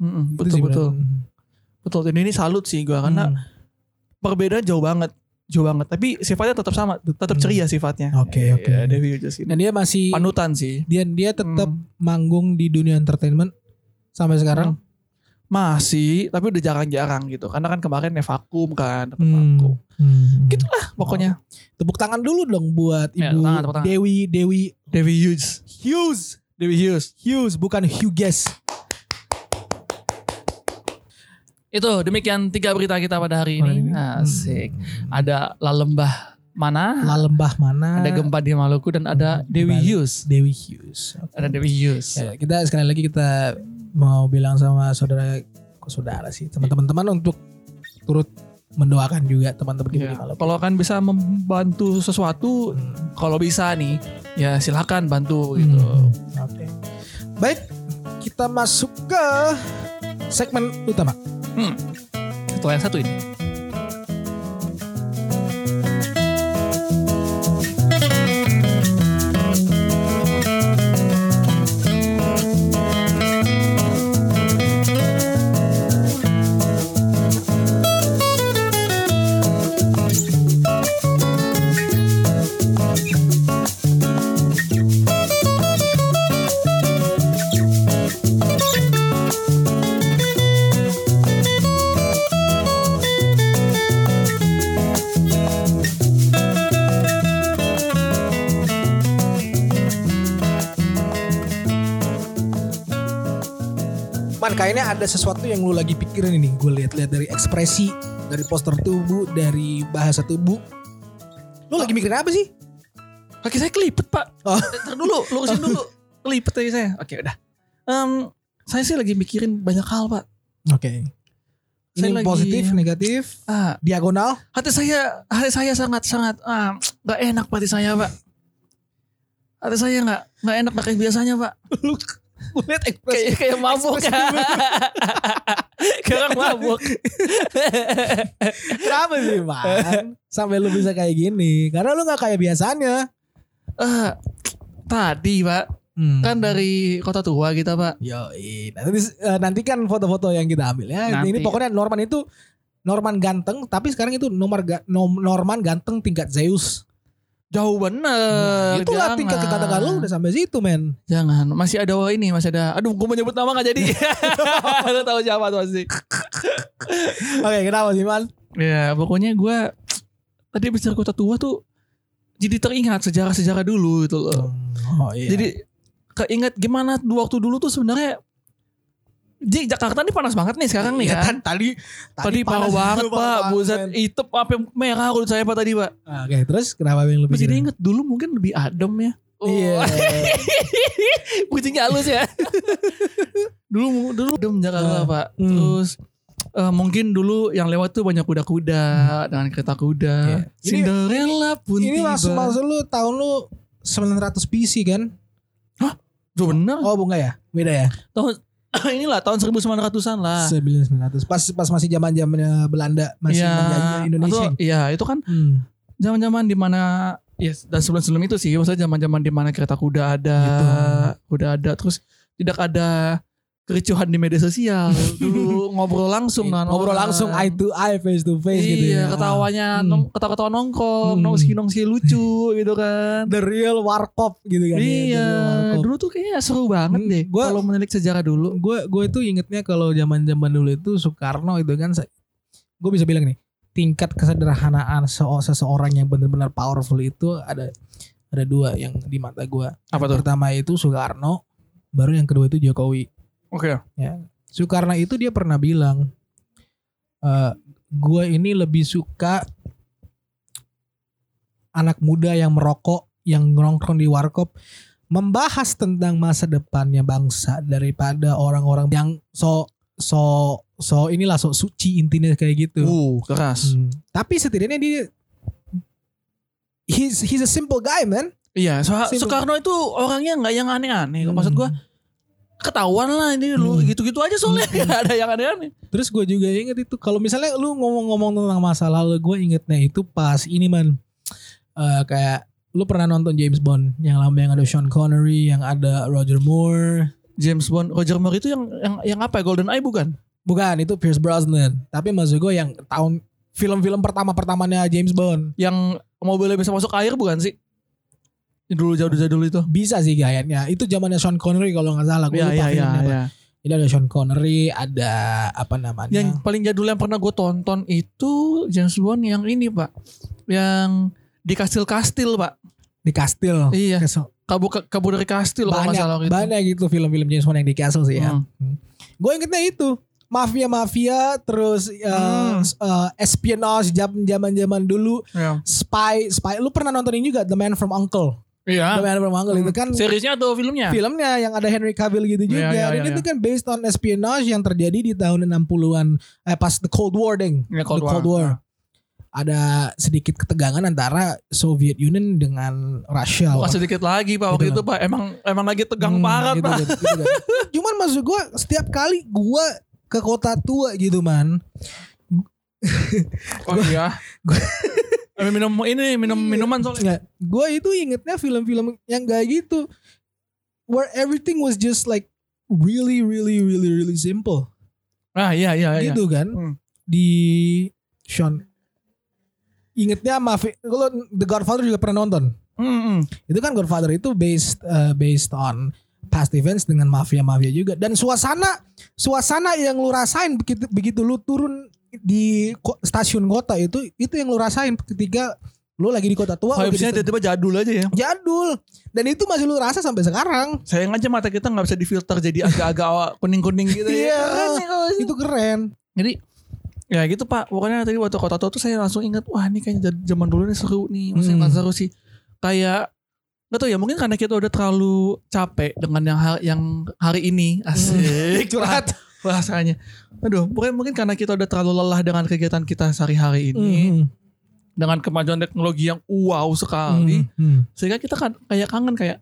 Speaker 2: Mm-mm, gitu
Speaker 1: Itu sih Hmm.
Speaker 2: betul betul
Speaker 1: beneran.
Speaker 2: Betul, dan ini salut sih gua karena
Speaker 1: Hmm.
Speaker 2: perbedaan jauh banget, jauh banget. Tapi sifatnya tetap sama, tetap
Speaker 1: Hmm.
Speaker 2: ceria sifatnya.
Speaker 1: Oke, oke.
Speaker 2: Ya, Dewi Ujas ini.
Speaker 1: dan dia masih
Speaker 2: Panutan sih.
Speaker 1: dia dia tetap
Speaker 2: Hmm.
Speaker 1: manggung di dunia entertainment sampai sekarang.
Speaker 2: masih, tapi udah jarang-jarang gitu. Karena kan kemarin ya vakum kan, dapet
Speaker 1: Hmm.
Speaker 2: vakum.
Speaker 1: Hmm.
Speaker 2: Gitu lah pokoknya.
Speaker 1: Tepuk tangan dulu dong buat Ibu
Speaker 2: Ya, tepuk tangan, tepuk tangan.
Speaker 1: Dewi Dewi
Speaker 2: Dewi Hughes,
Speaker 1: Hughes.
Speaker 2: Dewi Hughes.
Speaker 1: Hughes bukan Hughes.
Speaker 2: Itu demikian tiga berita kita pada hari ini. Asik. Ada Lalembah mana?
Speaker 1: La Hmm. lembah mana?
Speaker 2: Ada gempa Mm, di Maluku dan ada Dewi
Speaker 1: Bali.
Speaker 2: Hughes.
Speaker 1: Dewi Hughes. Oke.
Speaker 2: Ada Dewi Hughes.
Speaker 1: Ya, kita sekali lagi kita mau bilang sama saudara kok saudara sih teman-teman teman untuk turut mendoakan juga teman-teman kita
Speaker 2: Ya,
Speaker 1: di Maluku.
Speaker 2: Kalau kan bisa membantu sesuatu,
Speaker 1: Hmm.
Speaker 2: kalau bisa nih ya silakan bantu gitu.
Speaker 1: Hmm, Oke. Baik, kita masuk ke segmen utama.
Speaker 2: Setelah yang satu ini.
Speaker 1: Man, kayaknya ada sesuatu yang lu lagi pikirin ini. Gue lihat-lihat dari ekspresi, dari poster tubuh, dari bahasa tubuh. Lu lagi mikirin apa sih?
Speaker 2: Kaki saya kelipet pak. Eh,
Speaker 1: Oh.
Speaker 2: Ntar dulu, lurusin dulu. Kelipet tadi saya. Oke udah. Em, saya sih lagi mikirin banyak hal pak.
Speaker 1: Oke. Ini
Speaker 2: Saya lagi-
Speaker 1: positif, negatif,
Speaker 2: Ah,
Speaker 1: diagonal.
Speaker 2: hati saya, hati saya sangat sangat ah, nggak enak pak, hati saya pak. Hati saya nggak nggak enak pakai biasanya pak.
Speaker 1: Lu lu lihat ekspresi.
Speaker 2: Kayak kayak mabuk. Kayak orang mabuk.
Speaker 1: Kenapa sih, Man? Sampai lu bisa kayak gini. Karena lu gak kayak biasanya.
Speaker 2: Eh, tadi pak,
Speaker 1: Hmm.
Speaker 2: kan dari kota tua kita pak.
Speaker 1: Yoi. Nanti eh, nantikan foto-foto yang kita ambil ya.
Speaker 2: Nanti.
Speaker 1: Ini pokoknya Norman itu Norman ganteng, tapi sekarang itu nomor ga- nom- Norman ganteng tingkat Zeus.
Speaker 2: Jauh bener.
Speaker 1: Nah, Itulah
Speaker 2: Eh, jangan.
Speaker 1: tingkat kekatakan lu udah sampai situ, men.
Speaker 2: Jangan, masih ada ini, masih ada. Aduh, gue mau nyebut nama gak jadi. Lu tahu siapa tuh pasti.
Speaker 1: Oke, kenapa sih, Man?
Speaker 2: Ya, pokoknya gue tadi bicara kota tua tuh jadi teringat sejarah-sejarah dulu gitu loh.
Speaker 1: Oh, iya.
Speaker 2: Jadi keinget gimana waktu dulu tuh sebenarnya Di Jakarta nih panas banget nih sekarang nih
Speaker 1: Iya
Speaker 2: kan.
Speaker 1: kan tadi
Speaker 2: Tadi parah banget pak, buset
Speaker 1: men. Nah,
Speaker 2: hitam apa merah kulit saya pak tadi pak.
Speaker 1: Oke, terus kenapa yang
Speaker 2: Gue
Speaker 1: lebih
Speaker 2: jadi
Speaker 1: seru?
Speaker 2: inget dulu mungkin lebih adem ya.
Speaker 1: Iya.
Speaker 2: Kucingnya halus ya. dulu dulu adem Jakarta
Speaker 1: Ah,
Speaker 2: pak.
Speaker 1: hmm.
Speaker 2: Terus eh, mungkin dulu yang lewat tuh banyak kuda-kuda dengan kereta kuda.
Speaker 1: Hmm. Iya. Ini-
Speaker 2: Cinderella pun
Speaker 1: Ini
Speaker 2: tiba.
Speaker 1: langsung maksud lu tahun lu 900 PC kan?
Speaker 2: Tuh bener.
Speaker 1: Oh, bukan ya? Beda ya?
Speaker 2: Tahun inilah tahun 1900-an lah.
Speaker 1: Ah. 1900. Pas pas masih zaman-zamannya Belanda masih
Speaker 2: Iya.
Speaker 1: menjajah Indonesia.
Speaker 2: Atau- Iya, itu kan
Speaker 1: Hmm.
Speaker 2: zaman-zaman dimana yes dan sebelum-sebelum itu sih maksudnya zaman-zaman dimana kereta kuda ada
Speaker 1: Gitu.
Speaker 2: kuda ada terus tidak ada kericuhan di media sosial dulu ngobrol langsung dengan
Speaker 1: Iya. Ngobrol
Speaker 2: orang.
Speaker 1: langsung eye to eye, face to face
Speaker 2: iya,
Speaker 1: gitu ya.
Speaker 2: ketawanya
Speaker 1: Hmm.
Speaker 2: nong, ketawa-ketawa nongkrong
Speaker 1: Hmm.
Speaker 2: nongsi nongsi lucu gitu
Speaker 1: Ah.
Speaker 2: kan
Speaker 1: The real warkop gitu kan. ya, the
Speaker 2: iya
Speaker 1: real warkop.
Speaker 2: dulu tuh kayaknya seru banget
Speaker 1: Hmm,
Speaker 2: deh
Speaker 1: gua-
Speaker 2: kalau menilik sejarah dulu
Speaker 1: gue gue tuh ingetnya kalau zaman zaman dulu itu Soekarno itu kan gue bisa bilang nih tingkat kesederhanaan se- seseorang yang benar-benar powerful itu ada ada dua yang di mata gue
Speaker 2: apa
Speaker 1: pertama itu Soekarno baru yang kedua itu Jokowi
Speaker 2: oke
Speaker 1: Soekarno itu dia pernah bilang eh gue ini lebih suka anak muda yang merokok yang nongkrong di warkop membahas tentang masa depannya bangsa daripada orang-orang yang so so so inilah so suci intinya kayak gitu.
Speaker 2: uh keras
Speaker 1: Hmm. Tapi setidaknya dia he's he's a simple guy man.
Speaker 2: iya so-
Speaker 1: Simpel.
Speaker 2: Soekarno itu orangnya nggak yang aneh-aneh maksud gue ketahuan lah ini lu
Speaker 1: Hmm.
Speaker 2: gitu-gitu aja soalnya
Speaker 1: Hmm.
Speaker 2: nggak ada yang aneh-aneh
Speaker 1: Terus gue juga inget itu kalau misalnya lu ngomong-ngomong tentang masa lalu gue ingetnya itu pas ini man Eh, kayak lu pernah nonton James Bond yang lama yang ada Sean Connery yang ada Roger Moore
Speaker 2: James Bond Roger Moore itu yang yang yang apa ya? Golden Eye bukan
Speaker 1: bukan itu Pierce Brosnan tapi maksud gue yang tahun film-film pertama pertamanya James Bond
Speaker 2: yang mobilnya bisa masuk air bukan sih dulu jauh jauh dulu itu
Speaker 1: bisa sih kayaknya itu zamannya Sean Connery kalau nggak salah gue
Speaker 2: ya
Speaker 1: lupa
Speaker 2: ya ya,
Speaker 1: filmnya apa.
Speaker 2: ya.
Speaker 1: Jadi ada Sean Connery ada apa namanya
Speaker 2: yang paling jadul yang pernah gue tonton itu James Bond yang ini pak yang di kastil kastil pak
Speaker 1: di Kastil
Speaker 2: iya
Speaker 1: Castle.
Speaker 2: kabur ke- kabur dari kastil
Speaker 1: Oh.
Speaker 2: kalau nggak
Speaker 1: banyak
Speaker 2: salah gitu
Speaker 1: banyak gitu film-film James Bond yang di Castle sih ya
Speaker 2: Hmm.
Speaker 1: Gue ingetnya itu mafia-mafia terus uh,
Speaker 2: Hmm.
Speaker 1: uh, espionage zaman-zaman dulu
Speaker 2: Iya.
Speaker 1: spy spy lu pernah nontonin juga The Man from Uncle
Speaker 2: iya
Speaker 1: The Man from Uncle itu kan
Speaker 2: Hmm. seriesnya atau filmnya
Speaker 1: filmnya yang ada Henry Cavill gitu juga
Speaker 2: Iya, iya,
Speaker 1: dan
Speaker 2: iya,
Speaker 1: itu kan based on espionage yang terjadi di tahun 60-an eh, pas the Cold War deng
Speaker 2: Iya,
Speaker 1: the Cold War ada sedikit ketegangan antara Soviet Union dengan Rusia
Speaker 2: Bukan sedikit lagi pak waktu
Speaker 1: Gitu
Speaker 2: itu pak emang emang lagi tegang
Speaker 1: Hmm,
Speaker 2: parah
Speaker 1: gitu,
Speaker 2: pak
Speaker 1: gitu, gitu, gitu. Cuman maksud gue setiap kali gue ke kota tua gitu man.
Speaker 2: Oh iya. Eh, minum ini minum
Speaker 1: Iya.
Speaker 2: minuman soalnya.
Speaker 1: Nggak, gue itu ingetnya film-film yang gak gitu. Where everything was just like really really really really simple.
Speaker 2: Ah iya iya iya.
Speaker 1: gitu kan.
Speaker 2: Hmm.
Speaker 1: Di Sean ingetnya maaf kalau The Godfather juga pernah nonton.
Speaker 2: Mm-mm.
Speaker 1: Itu kan Godfather itu based uh, based on past events dengan mafia-mafia juga dan suasana suasana yang lu rasain begitu begitu lu turun di ko- stasiun kota itu itu yang lu rasain ketika lu lagi di kota tua lu
Speaker 2: Vibesnya
Speaker 1: jadi-
Speaker 2: tiba-tiba jadul aja ya.
Speaker 1: jadul dan itu masih lu rasa sampai sekarang
Speaker 2: Sayang aja mata kita nggak bisa difilter jadi agak-agak awak kuning-kuning gitu ya.
Speaker 1: Iya.
Speaker 2: Keren nih kalau sih.
Speaker 1: itu keren
Speaker 2: Jadi ya gitu pak. Pokoknya tadi waktu kota tua tuh saya langsung ingat wah ini kayaknya jad- zaman dulu ini seru nih. Maksudnya
Speaker 1: Hmm.
Speaker 2: nggak seru sih. Kayak Gak tau ya mungkin karena kita udah terlalu capek dengan yang hari, yang hari ini asik
Speaker 1: curhat
Speaker 2: Hmm. bahasanya. Aduh, pokoknya mungkin karena kita udah terlalu lelah dengan kegiatan kita sehari-hari ini. Hmm. dengan kemajuan teknologi yang wow sekali Hmm. sehingga kita kan kayak kangen kayak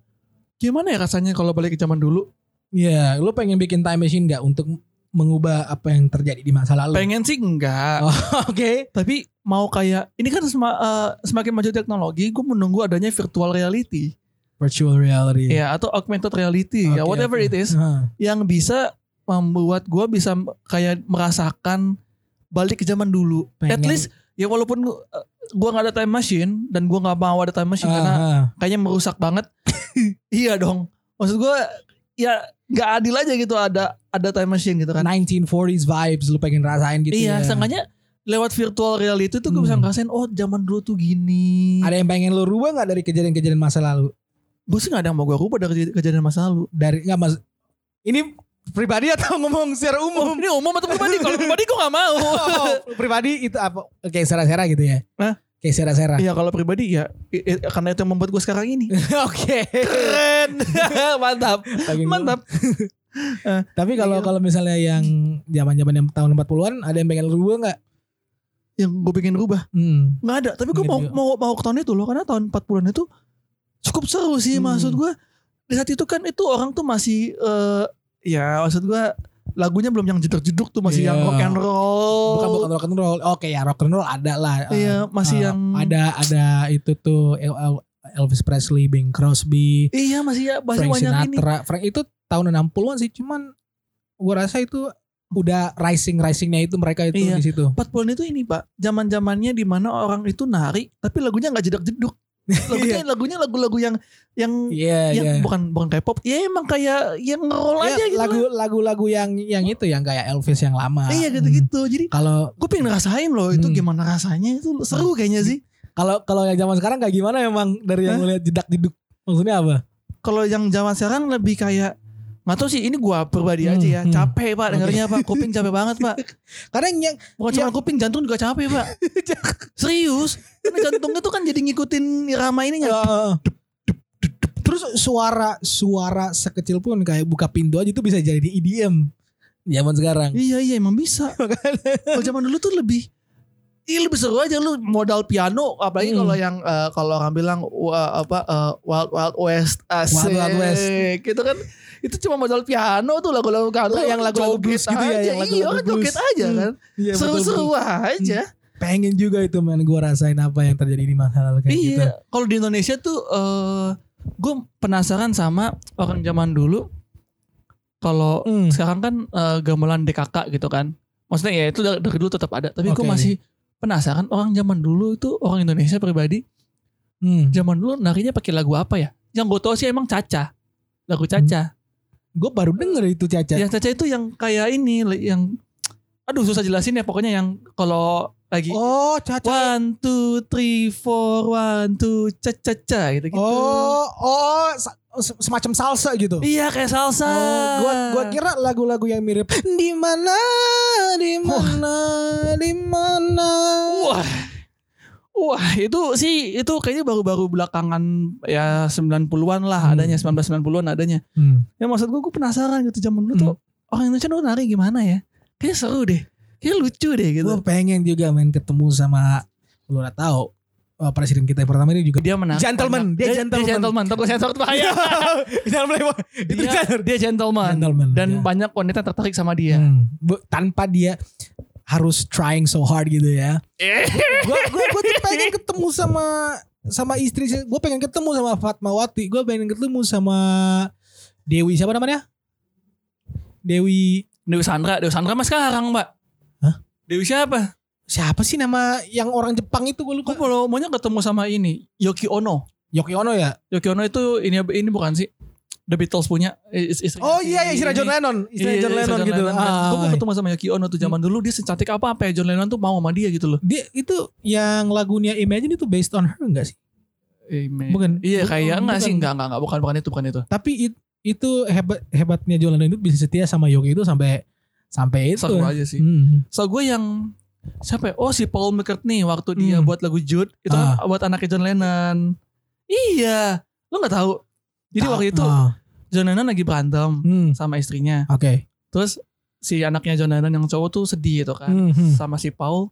Speaker 2: gimana ya rasanya kalau balik ke zaman dulu
Speaker 1: ya lu pengen bikin time machine nggak untuk mengubah apa yang terjadi di masa lalu
Speaker 2: pengen sih enggak
Speaker 1: Oh, oke
Speaker 2: tapi mau kayak ini kan sema- eh, semakin maju teknologi gue menunggu adanya virtual reality
Speaker 1: virtual reality
Speaker 2: ya atau augmented reality
Speaker 1: Iya.
Speaker 2: ya
Speaker 1: Oke,
Speaker 2: whatever
Speaker 1: oke.
Speaker 2: it is
Speaker 1: Hah.
Speaker 2: yang bisa membuat gue bisa m- kayak merasakan balik ke zaman dulu at
Speaker 1: Pengen.
Speaker 2: least ya walaupun gue nggak ada time machine dan gue nggak mau ada time machine karena
Speaker 1: Ah, ah.
Speaker 2: kayaknya merusak banget. iya dong. Maksud gue ya nggak adil aja gitu ada ada time machine gitu kan.
Speaker 1: 1940s vibes lu pengen rasain Nah, gitu
Speaker 2: iya,
Speaker 1: ya.
Speaker 2: setengahnya lewat virtual reality tuh gue
Speaker 1: Hmm.
Speaker 2: bisa ngerasain oh zaman dulu tuh gini.
Speaker 1: Ada yang pengen lu rubah nggak dari kejadian-kejadian masa lalu?
Speaker 2: Gue sih gak ada yang mau gue rubah dari kejadian masa lalu.
Speaker 1: Dari nggak mas? Ini pribadi atau ngomong secara umum?
Speaker 2: Ini umum atau pribadi? Kalau pribadi gue gak mau.
Speaker 1: Oh, pribadi itu apa? Kayak sera-sera gitu ya?
Speaker 2: Hah?
Speaker 1: Kayak sera-sera.
Speaker 2: Iya kalau pribadi ya i- i- karena itu yang membuat gue sekarang ini.
Speaker 1: Oke.
Speaker 2: Keren. Mantap.
Speaker 1: Bagi gua.
Speaker 2: Mantap.
Speaker 1: Tapi kalau
Speaker 2: Iya.
Speaker 1: kalau misalnya yang zaman-zaman yang tahun 40-an ada yang pengen rubah nggak?
Speaker 2: Yang gue pengen rubah.
Speaker 1: Hmm.
Speaker 2: Gak ada. Tapi gue
Speaker 1: Gitu
Speaker 2: mau,
Speaker 1: ya.
Speaker 2: mau, mau ke tahun itu loh. Karena tahun 40-an itu cukup seru sih.
Speaker 1: Hmm.
Speaker 2: Maksud gue di saat itu kan itu orang tuh masih. eh ya maksud gue lagunya belum yang jeduk-jeduk tuh. Masih
Speaker 1: Iya.
Speaker 2: yang rock and roll.
Speaker 1: Bukan bukan rock and roll. Oke ya rock and roll ada lah.
Speaker 2: Oh. Iya
Speaker 1: Eh,
Speaker 2: masih yang.
Speaker 1: ada ada itu tuh El- El- Elvis Presley, Bing Crosby,
Speaker 2: Iya masih ya masih
Speaker 1: Frank
Speaker 2: banyak ini.
Speaker 1: Sinatra. Frank itu tahun 60-an sih cuman gua rasa itu udah rising risingnya itu mereka itu
Speaker 2: Iya.
Speaker 1: di situ.
Speaker 2: 40-an itu ini pak zaman zamannya di mana orang itu nari tapi lagunya nggak jedak jeduk lagunya lagunya lagu-lagu yang yang
Speaker 1: Iya
Speaker 2: yang
Speaker 1: iya.
Speaker 2: bukan bukan kayak pop ya emang kayak yang roll
Speaker 1: Ya,
Speaker 2: aja gitu
Speaker 1: lagu
Speaker 2: lah.
Speaker 1: lagu-lagu yang yang itu yang kayak Elvis yang lama.
Speaker 2: iya gitu-gitu jadi
Speaker 1: Hmm. Kalau
Speaker 2: gue pengen ngerasain loh itu
Speaker 1: Hmm.
Speaker 2: gimana rasanya itu seru kayaknya sih
Speaker 1: kalau kalau yang zaman sekarang kayak gimana emang dari yang ngeliat jedak jeduk maksudnya apa?
Speaker 2: kalau yang zaman sekarang lebih kayak nggak tau sih ini gua pribadi
Speaker 1: Hmm,
Speaker 2: aja ya
Speaker 1: hmm.
Speaker 2: capek pak dengarnya pak kuping capek banget pak
Speaker 1: Karena yang
Speaker 2: bukan cuma kuping jantung juga capek pak serius karena jantungnya tuh kan jadi ngikutin irama ininya
Speaker 1: Iya, Heeh. terus suara suara sekecil pun kayak buka pintu aja itu bisa jadi EDM zaman sekarang.
Speaker 2: Iya iya emang bisa. Kalau zaman dulu tuh lebih Iya lebih seru aja lu modal piano apalagi
Speaker 1: Hmm.
Speaker 2: kalau yang eh, kalau orang bilang wah, apa eh, Wild Wild West asik.
Speaker 1: Wild West.
Speaker 2: Gitu kan itu cuma modal piano tuh lagu-lagu country
Speaker 1: Yang lagu-lagu
Speaker 2: joget
Speaker 1: blues gitu ya,
Speaker 2: aja.
Speaker 1: yang lagu-lagu
Speaker 2: iya, orang
Speaker 1: blues.
Speaker 2: joget aja
Speaker 1: Hmm,
Speaker 2: kan.
Speaker 1: Iya,
Speaker 2: Seru-seru
Speaker 1: betul-betul.
Speaker 2: aja.
Speaker 1: Pengen juga itu men gue rasain apa yang terjadi di masa lalu kayak
Speaker 2: iya.
Speaker 1: gitu.
Speaker 2: Kalau di Indonesia tuh eh gue penasaran sama orang zaman dulu kalau
Speaker 1: Hmm.
Speaker 2: sekarang kan eh, gamelan DKK gitu kan maksudnya ya itu dari, dari dulu tetap ada tapi gue
Speaker 1: Oke.
Speaker 2: masih penasaran orang zaman dulu itu orang Indonesia pribadi
Speaker 1: Hmm.
Speaker 2: zaman dulu narinya pakai lagu apa ya yang gue tau sih emang caca lagu
Speaker 1: Hmm,
Speaker 2: caca
Speaker 1: Gue baru denger itu Caca.
Speaker 2: yang caca itu yang kayak ini le- yang aduh susah jelasin ya pokoknya yang kalau lagi
Speaker 1: Oh Caca.
Speaker 2: one two three four one two caca caca gitu gitu
Speaker 1: Oh oh sa- se- semacam salsa gitu.
Speaker 2: iya kayak salsa
Speaker 1: Oh, gua gua kira lagu-lagu yang mirip di mana di mana di mana.
Speaker 2: Wah. Wah, itu sih itu kayaknya baru-baru belakangan ya 90-an lah
Speaker 1: Hmm.
Speaker 2: adanya 1990-an adanya.
Speaker 1: Hmm.
Speaker 2: Ya maksud gue gue penasaran gitu zaman dulu
Speaker 1: Hmm.
Speaker 2: tuh orang Indonesia tuh nari gimana ya? Kayaknya seru deh. Kayaknya lucu deh gitu.
Speaker 1: Gue pengen juga main ketemu sama lu udah tahu eh, presiden kita yang pertama ini juga
Speaker 2: Dia menang.
Speaker 1: Gentleman, dia gentleman.
Speaker 2: Dia gentleman. Tapi sensor tuh bahaya.
Speaker 1: Jangan melewat. Itu
Speaker 2: dia,
Speaker 1: jangan.
Speaker 2: dia gentleman.
Speaker 1: Gentleman,
Speaker 2: Dan
Speaker 1: ya.
Speaker 2: banyak wanita tertarik sama dia.
Speaker 1: Hmm. Bu- tanpa dia harus trying so hard gitu ya. Gue gue gue tuh pengen ketemu sama sama istri gue pengen ketemu sama Fatmawati gue pengen ketemu sama Dewi siapa namanya Dewi
Speaker 2: Dewi Sandra, Dewi Sandra mas sekarang, Mbak.
Speaker 1: Hah?
Speaker 2: Dewi siapa?
Speaker 1: siapa sih nama yang orang Jepang itu gue
Speaker 2: Gue
Speaker 1: lupa
Speaker 2: kalau maunya ketemu sama ini, Yoki Ono.
Speaker 1: Yoki Ono ya
Speaker 2: Yoki Ono itu ini ini bukan sih The Beatles punya eh, is- istrinya
Speaker 1: oh
Speaker 2: si-
Speaker 1: iya ya istilah John
Speaker 2: ini.
Speaker 1: Lennon istilah
Speaker 2: Iya,
Speaker 1: John
Speaker 2: istrinya
Speaker 1: Lennon gitu
Speaker 2: kan.
Speaker 1: Ah,
Speaker 2: Gue mau ketemu sama Yoki Ono tuh zaman dulu dia secantik apa apa ya John Lennon tuh mau sama dia gitu loh.
Speaker 1: dia itu yang lagunya Imagine itu based on her enggak sih? Bukan.
Speaker 2: Iya
Speaker 1: Bukan.
Speaker 2: kayak enggak sih enggak enggak enggak bukan bukan itu bukan itu.
Speaker 1: Tapi it- itu hebat hebatnya John Lennon itu bisa setia sama Yogi itu sampai sampai itu.
Speaker 2: Seru aja sih.
Speaker 1: Gitu Hmm.
Speaker 2: So gue yang siapa ya? Oh si Paul McCartney waktu dia
Speaker 1: Hmm.
Speaker 2: buat lagu Jude itu
Speaker 1: Ah.
Speaker 2: buat anaknya John Lennon. Iya, lo nggak tahu. Jadi waktu itu
Speaker 1: Ah.
Speaker 2: John Lennon lagi berantem
Speaker 1: Hmm.
Speaker 2: sama istrinya.
Speaker 1: Oke.
Speaker 2: Terus si anaknya John Lennon yang cowok tuh sedih gitu kan.
Speaker 1: Mhm.
Speaker 2: sama si Paul.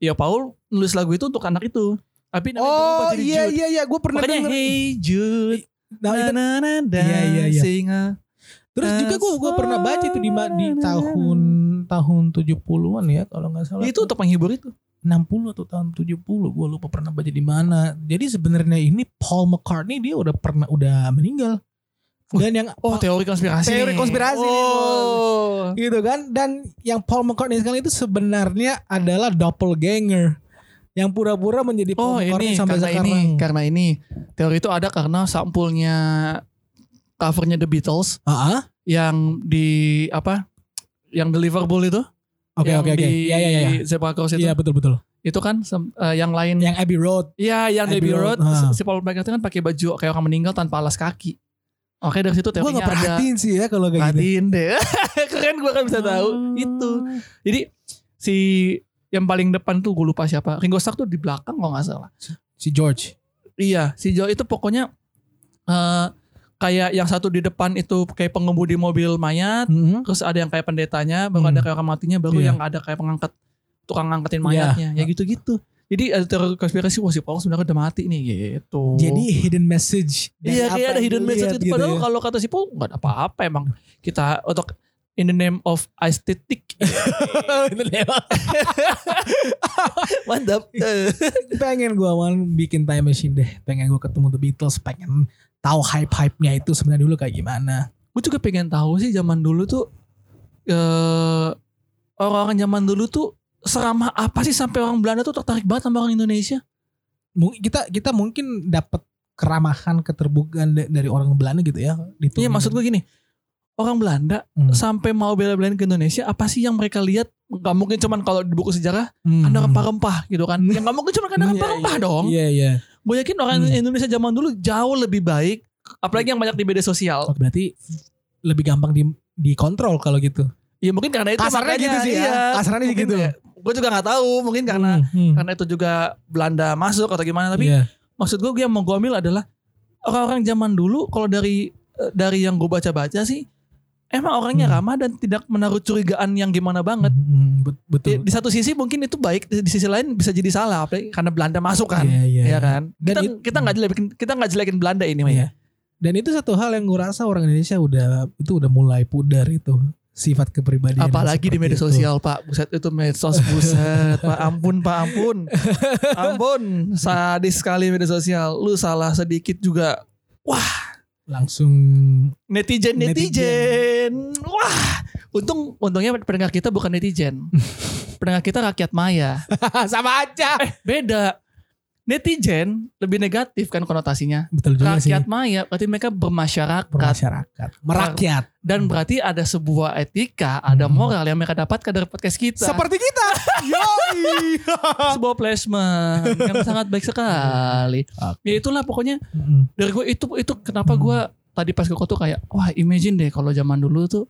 Speaker 2: Ya Paul nulis lagu itu untuk anak itu. Tapi namanya berubah
Speaker 1: Oh
Speaker 2: jadi
Speaker 1: iya
Speaker 2: Jude.
Speaker 1: iya iya gue pernah
Speaker 2: Makanya
Speaker 1: denger.
Speaker 2: Hey Jude.
Speaker 1: Nah, itu-
Speaker 2: na, na, na,
Speaker 1: Iya, iya, iya.
Speaker 2: sing a-
Speaker 1: terus juga gue gue pernah baca itu di ma- di tahun tahun 70-an ya kalau nggak salah.
Speaker 2: Itu untuk penghibur itu.
Speaker 1: 60 atau tahun 70 gue lupa pernah baca di mana. Jadi sebenarnya ini Paul McCartney dia udah pernah udah meninggal. Dan yang
Speaker 2: Oh teori konspirasi.
Speaker 1: Teori
Speaker 2: nih.
Speaker 1: konspirasi nih,
Speaker 2: Oh.
Speaker 1: gitu kan dan yang Paul McCartney sekarang itu sebenarnya adalah doppelganger yang pura-pura menjadi
Speaker 2: Oh
Speaker 1: Paul McCartney
Speaker 2: ini
Speaker 1: sampai
Speaker 2: karena
Speaker 1: sekarang
Speaker 2: ini kan karena ini teori itu ada karena sampulnya covernya The Beatles
Speaker 1: Ah, ah.
Speaker 2: yang di apa yang di Liverpool itu
Speaker 1: oke
Speaker 2: yang
Speaker 1: oke oke
Speaker 2: di
Speaker 1: ya ya ya ya.
Speaker 2: Zebra Cross itu
Speaker 1: iya betul betul
Speaker 2: itu kan sem- eh, yang lain
Speaker 1: yang Abbey Road
Speaker 2: Iya, yang
Speaker 1: Abbey
Speaker 2: Abbey
Speaker 1: Road,
Speaker 2: Road,
Speaker 1: ha.
Speaker 2: si Paul McCartney kan pakai baju kayak orang meninggal tanpa alas kaki. Oke dari situ
Speaker 1: Gue gak
Speaker 2: teorinya ada.
Speaker 1: perhatiin sih ya kalau kayak Ah. gini.
Speaker 2: Perhatiin deh. Keren gue kan bisa tahu itu. Jadi si yang paling depan tuh gue lupa siapa. Ringo Starr tuh di belakang kalau nggak salah.
Speaker 1: Si George.
Speaker 2: Iya, si Joe itu pokoknya eh kayak yang satu di depan itu kayak pengemudi mobil mayat,
Speaker 1: Mm-hmm.
Speaker 2: terus ada yang kayak pendetanya, baru
Speaker 1: Hmm.
Speaker 2: ada kayak orang matinya, baru
Speaker 1: Iya.
Speaker 2: yang ada kayak pengangkat tukang
Speaker 1: Iya.
Speaker 2: ngangkatin mayatnya, ya gitu-gitu. Jadi ada teori konspirasi wah si Paul sebenarnya udah mati nih gitu.
Speaker 1: Jadi hidden message. dari
Speaker 2: iya
Speaker 1: apa
Speaker 2: kayak ada
Speaker 1: yang
Speaker 2: hidden
Speaker 1: lu
Speaker 2: message
Speaker 1: lihat
Speaker 2: itu.
Speaker 1: gitu
Speaker 2: Padahal
Speaker 1: ya.
Speaker 2: kalau kata si Paul nggak ada apa-apa emang kita untuk in the name of aesthetic mantap.
Speaker 1: Iya. pengen gue man bikin time machine deh pengen gue ketemu The Beatles pengen tahu hype hype nya itu sebenarnya dulu kayak gimana
Speaker 2: gue juga pengen tahu sih zaman dulu tuh eh orang-orang zaman dulu tuh serama apa sih sampai orang Belanda tuh tertarik banget sama orang Indonesia?
Speaker 1: Mung- kita kita mungkin dapat keramahan keterbukaan da- dari orang Belanda gitu ya di
Speaker 2: Iya maksud gue gini, orang Belanda
Speaker 1: Hmm.
Speaker 2: sampai mau bela-belain ke Indonesia apa sih yang mereka lihat? Gak mungkin cuman kalau di buku sejarah
Speaker 1: Hmm.
Speaker 2: ada rempah-rempah gitu kan? Yang gak mungkin cuman ada
Speaker 1: Iya,
Speaker 2: rempah-rempah dong.
Speaker 1: iya iya
Speaker 2: Gue yakin orang
Speaker 1: Hmm.
Speaker 2: Indonesia zaman dulu jauh lebih baik, apalagi yang banyak di media sosial.
Speaker 1: Oh, berarti lebih gampang di dikontrol kalau gitu
Speaker 2: Ya mungkin karena itu iya.
Speaker 1: kasarnya gitu sih ya kasarnya sih gitu
Speaker 2: Gue juga nggak tahu, mungkin Iya, karena
Speaker 1: Hmm, hmm.
Speaker 2: karena itu juga Belanda masuk atau gimana tapi
Speaker 1: Iya.
Speaker 2: maksud gue yang mau gue ambil adalah orang-orang zaman dulu kalau dari eh, dari yang gue baca-baca sih emang orangnya
Speaker 1: Hmm.
Speaker 2: ramah dan tidak menaruh curigaan yang gimana banget
Speaker 1: Hmm, hmm, bet- betul
Speaker 2: di, di satu sisi mungkin itu baik di, di sisi lain bisa jadi salah apalagi karena Belanda masuk kan
Speaker 1: Iya, iya,
Speaker 2: ya kan
Speaker 1: Dan
Speaker 2: kita
Speaker 1: it-
Speaker 2: kita nggak jelekin kita nggak jelekin Belanda ini ya. Maya.
Speaker 1: Iya. Dan itu satu hal yang gue rasa orang Indonesia udah itu udah mulai pudar itu sifat kepribadian.
Speaker 2: apalagi di
Speaker 1: seperti
Speaker 2: media
Speaker 1: itu.
Speaker 2: sosial pak buset itu medsos buset pak ampun pak ampun ampun sadis sekali media sosial lu salah sedikit juga
Speaker 1: Langsung
Speaker 2: netizen
Speaker 1: Netizen.
Speaker 2: netizen. Wah, untung untungnya pendengar kita bukan netizen. pendengar kita rakyat maya.
Speaker 1: sama aja.
Speaker 2: Eh, Beda. Netizen lebih negatif kan konotasinya.
Speaker 1: Betul juga sih.
Speaker 2: Rakyat maya berarti mereka bermasyarakat
Speaker 1: Bermasyarakat, merakyat.
Speaker 2: dan berarti ada sebuah etika, ada
Speaker 1: Hmm.
Speaker 2: moral yang mereka dapatkan dari podcast kita.
Speaker 1: Seperti kita. Yoi.
Speaker 2: sebuah placement yang sangat baik sekali.
Speaker 1: Oke.
Speaker 2: Ya itulah pokoknya
Speaker 1: Mm-mm.
Speaker 2: dari gue itu itu kenapa
Speaker 1: Hmm.
Speaker 2: gue tadi pas ke kota kayak wah imagine deh kalau zaman dulu tuh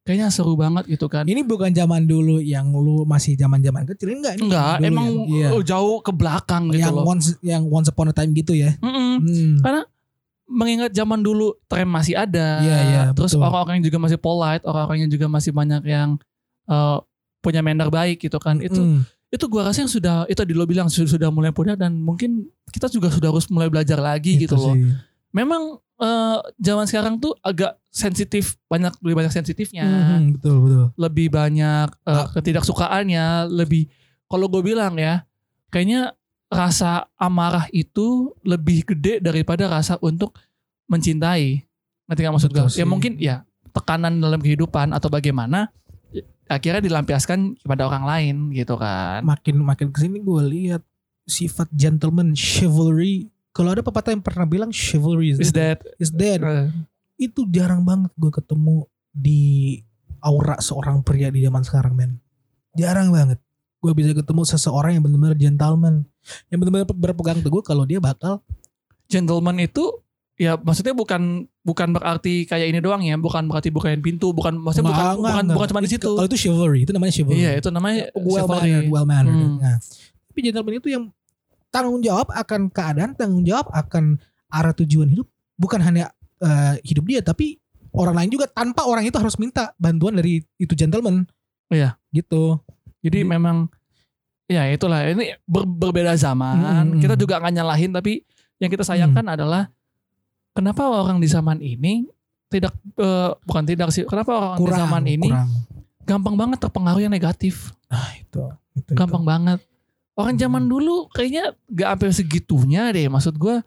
Speaker 2: kayaknya seru banget gitu kan.
Speaker 1: Ini bukan zaman dulu yang lu masih zaman-zaman kecil enggak? Ini
Speaker 2: Enggak,
Speaker 1: dulu
Speaker 2: emang
Speaker 1: yang, iya.
Speaker 2: uh, jauh ke belakang gitu
Speaker 1: yang
Speaker 2: loh. kan
Speaker 1: once yang once upon a time gitu ya.
Speaker 2: Mm-mm.
Speaker 1: Hmm.
Speaker 2: Mengingat zaman dulu tren masih ada.
Speaker 1: Iya, iya,
Speaker 2: Terus
Speaker 1: betul.
Speaker 2: orang-orang yang juga masih polite, orang-orang yang juga masih banyak yang eh, punya manner baik gitu kan. Itu
Speaker 1: Mm.
Speaker 2: itu gua rasa yang sudah itu tadi lo bilang su- sudah mulai pudar dan mungkin kita juga sudah harus mulai belajar lagi
Speaker 1: Itu
Speaker 2: gitu loh.
Speaker 1: sih.
Speaker 2: Memang eh, zaman sekarang tuh agak sensitif, banyak lebih banyak sensitifnya.
Speaker 1: Mhm, betul betul.
Speaker 2: lebih banyak eh,
Speaker 1: Ah.
Speaker 2: ketidaksukaannya lebih kalau gue bilang ya kayaknya rasa amarah itu lebih gede daripada rasa untuk mencintai nanti nggak maksud gue
Speaker 1: Betul
Speaker 2: ya
Speaker 1: sih.
Speaker 2: mungkin ya tekanan dalam kehidupan atau bagaimana ya, akhirnya dilampiaskan kepada orang lain gitu kan
Speaker 1: makin makin kesini gue lihat sifat gentleman chivalry kalau ada pepatah yang pernah bilang chivalry is
Speaker 2: is
Speaker 1: dead,
Speaker 2: that
Speaker 1: is dead.
Speaker 2: Nah,
Speaker 1: itu jarang banget gue ketemu di aura seorang pria di zaman sekarang men jarang banget gue bisa ketemu seseorang yang benar-benar gentleman yang benar-benar berpegang teguh kalau dia bakal
Speaker 2: gentleman itu ya maksudnya bukan bukan berarti kayak ini doang ya bukan berarti bukain pintu bukan maksudnya bukan
Speaker 1: Nggak, nggak,
Speaker 2: bukan,
Speaker 1: nggak.
Speaker 2: bukan cuma di situ
Speaker 1: kalau gitu. itu chivalry itu namanya chivalry
Speaker 2: iya itu namanya
Speaker 1: well
Speaker 2: chivalry.
Speaker 1: mannered, well mannered.
Speaker 2: Hmm.
Speaker 1: Nah, tapi gentleman itu yang tanggung jawab akan keadaan, tanggung jawab akan arah tujuan hidup, bukan hanya eh, hidup dia, tapi orang lain juga tanpa orang itu harus minta bantuan dari itu gentleman.
Speaker 2: Iya.
Speaker 1: gitu.
Speaker 2: Jadi
Speaker 1: Jadi-
Speaker 2: memang ya itulah ini ber- berbeda zaman.
Speaker 1: Mm, mm,
Speaker 2: Kita
Speaker 1: mm.
Speaker 2: juga nggak nyalahin tapi yang kita sayangkan
Speaker 1: Hmm.
Speaker 2: adalah kenapa orang di zaman ini tidak eh, bukan tidak sih. Kenapa orang di
Speaker 1: Kurang,
Speaker 2: zaman ini
Speaker 1: kurang.
Speaker 2: gampang banget terpengaruh yang negatif.
Speaker 1: Nah, itu, itu,
Speaker 2: Gampang banget. Gitu. Orang
Speaker 1: Mm.
Speaker 2: zaman dulu kayaknya nggak sampai segitunya deh. Maksud gua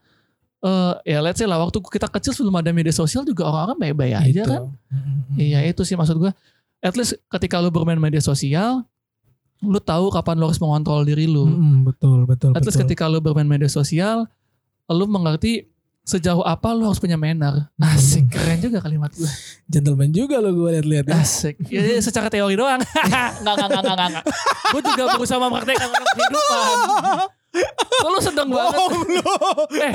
Speaker 2: eh ya let's say lah waktu kita kecil sebelum ada media sosial juga orang-orang baik-baik
Speaker 1: itu.
Speaker 2: aja
Speaker 1: Itu.
Speaker 2: kan.
Speaker 1: Mm, mm,
Speaker 2: Iya itu sih maksud gue. At least ketika lu bermain media sosial, lu tahu kapan lu harus mengontrol diri
Speaker 1: mm,
Speaker 2: lu.
Speaker 1: mm, betul, betul,
Speaker 2: At least
Speaker 1: betul.
Speaker 2: ketika lu bermain media sosial, lu mengerti sejauh apa lu harus punya manner.
Speaker 1: Mm.
Speaker 2: Asik, keren juga kalimat gue.
Speaker 1: Gentleman juga lo gue lihat-lihat. ya.
Speaker 2: Asik. Ya, ya, secara teori doang. Enggak, enggak, enggak, enggak. Gue juga berusaha mempraktekkan dalam kehidupan. Lu sedang banget.
Speaker 1: Oh,
Speaker 3: Bohong lu.
Speaker 2: Eh,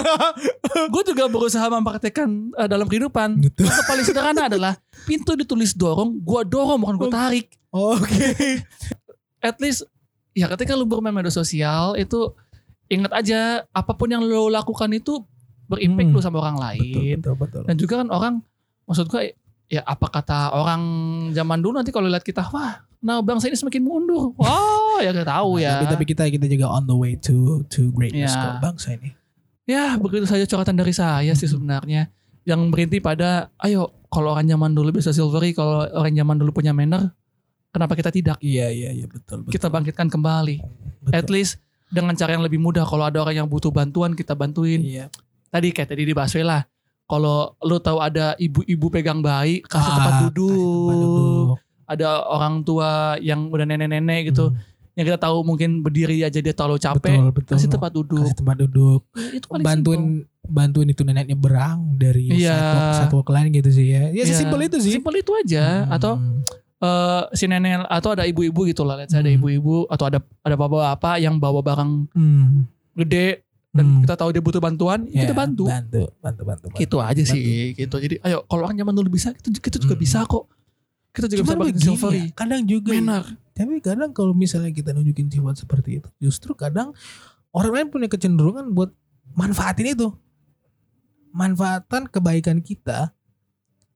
Speaker 2: gue juga berusaha mempraktekkan eh, dalam kehidupan.
Speaker 1: Gitu.
Speaker 2: Yang paling sederhana adalah pintu ditulis dorong, gua dorong bukan gua tarik.
Speaker 1: Oke.
Speaker 2: At least ya ketika lu bermain media sosial itu ingat aja apapun yang lu lakukan itu berimpact
Speaker 1: Hmm.
Speaker 2: lu sama orang lain.
Speaker 1: Betul, betul.
Speaker 2: Dan juga kan orang maksud gua ya apa kata orang zaman dulu nanti kalau lihat kita wah nah bangsa ini semakin mundur. Wah, ya gak tahu
Speaker 1: Nah,
Speaker 2: ya.
Speaker 1: Tapi, tapi kita kita juga on the way to to greatness kok
Speaker 2: Ya.
Speaker 1: bangsa ini.
Speaker 2: Ya begitu saja coretan dari saya sih sebenarnya Yang berhenti pada Ayo kalau orang zaman dulu bisa silvery Kalau orang zaman dulu punya manner Kenapa kita tidak?
Speaker 1: Iya iya iya betul betul.
Speaker 2: Kita bangkitkan kembali
Speaker 1: betul.
Speaker 2: At least dengan cara yang lebih mudah Kalau ada orang yang butuh bantuan kita bantuin
Speaker 1: Iya.
Speaker 2: Tadi kayak tadi di lah Kalau lu tahu ada ibu-ibu pegang bayi Kasih
Speaker 1: Ah,
Speaker 2: tempat
Speaker 1: kasih
Speaker 2: duduk,
Speaker 1: tempat duduk.
Speaker 2: Ada orang tua yang udah nenek-nenek gitu
Speaker 1: Hmm,
Speaker 2: Yang kita tahu mungkin berdiri aja dia terlalu capek
Speaker 1: betul betul.
Speaker 2: Kasih tempat duduk
Speaker 1: Kasih tempat duduk.
Speaker 2: Itu paling
Speaker 1: Bantuin
Speaker 2: simple.
Speaker 1: bantuin itu neneknya berang dari
Speaker 2: Iya.
Speaker 1: satu satu ke lain gitu sih ya. Ya
Speaker 2: Iya.
Speaker 1: sesimpel itu sih.
Speaker 2: Simple itu aja
Speaker 1: Hmm.
Speaker 2: Atau eh si nenek atau ada ibu-ibu gitu lah, let's say ada
Speaker 1: Hmm.
Speaker 2: ibu-ibu atau ada ada bapak-bapak yang bawa barang
Speaker 1: Hmm.
Speaker 2: gede dan
Speaker 1: Hmm.
Speaker 2: kita tahu dia butuh bantuan, ya kita
Speaker 1: Ya,
Speaker 2: bantu.
Speaker 1: Bantu, bantu, bantu. bantu.
Speaker 2: Gitu aja
Speaker 1: Bantu.
Speaker 2: sih, gitu. Jadi ayo kalau orang zaman dulu bisa, kita, kita juga
Speaker 1: Hmm.
Speaker 2: bisa kok. Kita juga
Speaker 1: Cuman
Speaker 2: bisa pakai
Speaker 1: begini
Speaker 2: silvery.
Speaker 1: ya, kadang juga
Speaker 2: Benar.
Speaker 1: tapi kadang kalau misalnya kita nunjukin sifat seperti itu justru kadang orang lain punya kecenderungan buat manfaatin itu manfaatan kebaikan kita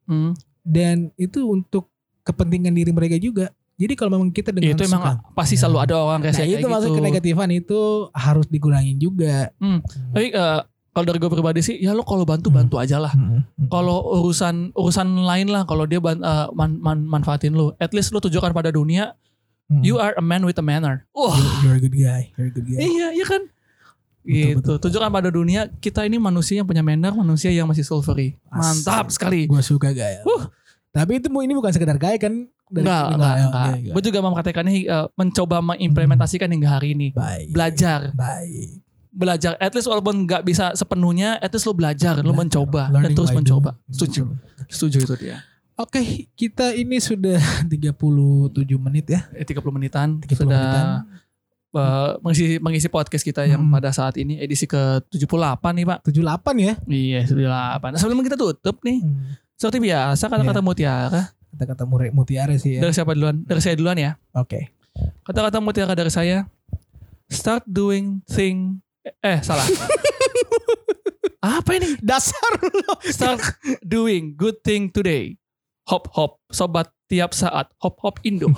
Speaker 2: Hmm.
Speaker 1: dan itu untuk kepentingan diri mereka juga jadi kalau memang kita
Speaker 2: Ya,
Speaker 1: dengan
Speaker 2: itu emang
Speaker 1: suka-
Speaker 2: pasti
Speaker 1: Ya.
Speaker 2: selalu ada orang
Speaker 1: nah
Speaker 2: rese kayak
Speaker 1: itu
Speaker 2: gitu.
Speaker 1: masuk ke negatifan itu harus dikurangin juga
Speaker 2: Tapi eh, kalau dari gue pribadi sih, ya lo kalau bantu
Speaker 1: Hmm.
Speaker 2: bantu aja lah. Kalau urusan urusan lain lah, kalau dia ban- eh, man- man- manfaatin lo, at least lo tunjukkan pada dunia, you are a man with a manner. Wah,
Speaker 1: you're, Hmm. you're a good guy you're a good guy
Speaker 2: Iya, iya kan?
Speaker 1: Betul,
Speaker 2: gitu.
Speaker 1: betul.
Speaker 2: Tunjukkan pada dunia kita ini manusia yang punya manner, manusia yang masih silvery.
Speaker 1: Asik.
Speaker 2: Mantap sekali.
Speaker 1: gue suka gaya
Speaker 2: Huh.
Speaker 1: tapi itu ini bukan sekedar gaya kan Dari-
Speaker 2: Enggak, enggak, enggak. Gue juga memperhatikannya eh, mencoba mengimplementasikan hingga hari ini.
Speaker 1: baik
Speaker 2: Belajar,
Speaker 1: baik
Speaker 2: belajar. At least walaupun nggak bisa sepenuhnya, at least lo belajar, lo
Speaker 1: Belajar.
Speaker 2: mencoba dan
Speaker 1: Learning Hmm.
Speaker 2: terus
Speaker 1: by
Speaker 2: mencoba.
Speaker 1: doing.
Speaker 2: Setuju, setuju itu dia.
Speaker 1: Oke, kita ini sudah 37 menit ya.
Speaker 2: Eh, 30 menitan
Speaker 1: 30
Speaker 2: sudah
Speaker 1: menitan.
Speaker 2: eh, mengisi mengisi podcast kita yang
Speaker 1: Hmm.
Speaker 2: pada saat ini edisi ke 78 nih Pak.
Speaker 1: 78 ya.
Speaker 2: Iya, 78. Sebelum kita tutup nih, seperti biasa kata-kata mutiara.
Speaker 1: Kata-kata murai mutiara sih ya.
Speaker 2: Dari siapa duluan? Dari saya duluan ya.
Speaker 1: Oke.
Speaker 2: Kata-kata mutiara dari saya. Start doing thing. Eh, salah. Apa ini?
Speaker 1: Dasar lo.
Speaker 2: Start doing good thing today. Hop hop, sobat tiap saat. Hop hop Indo.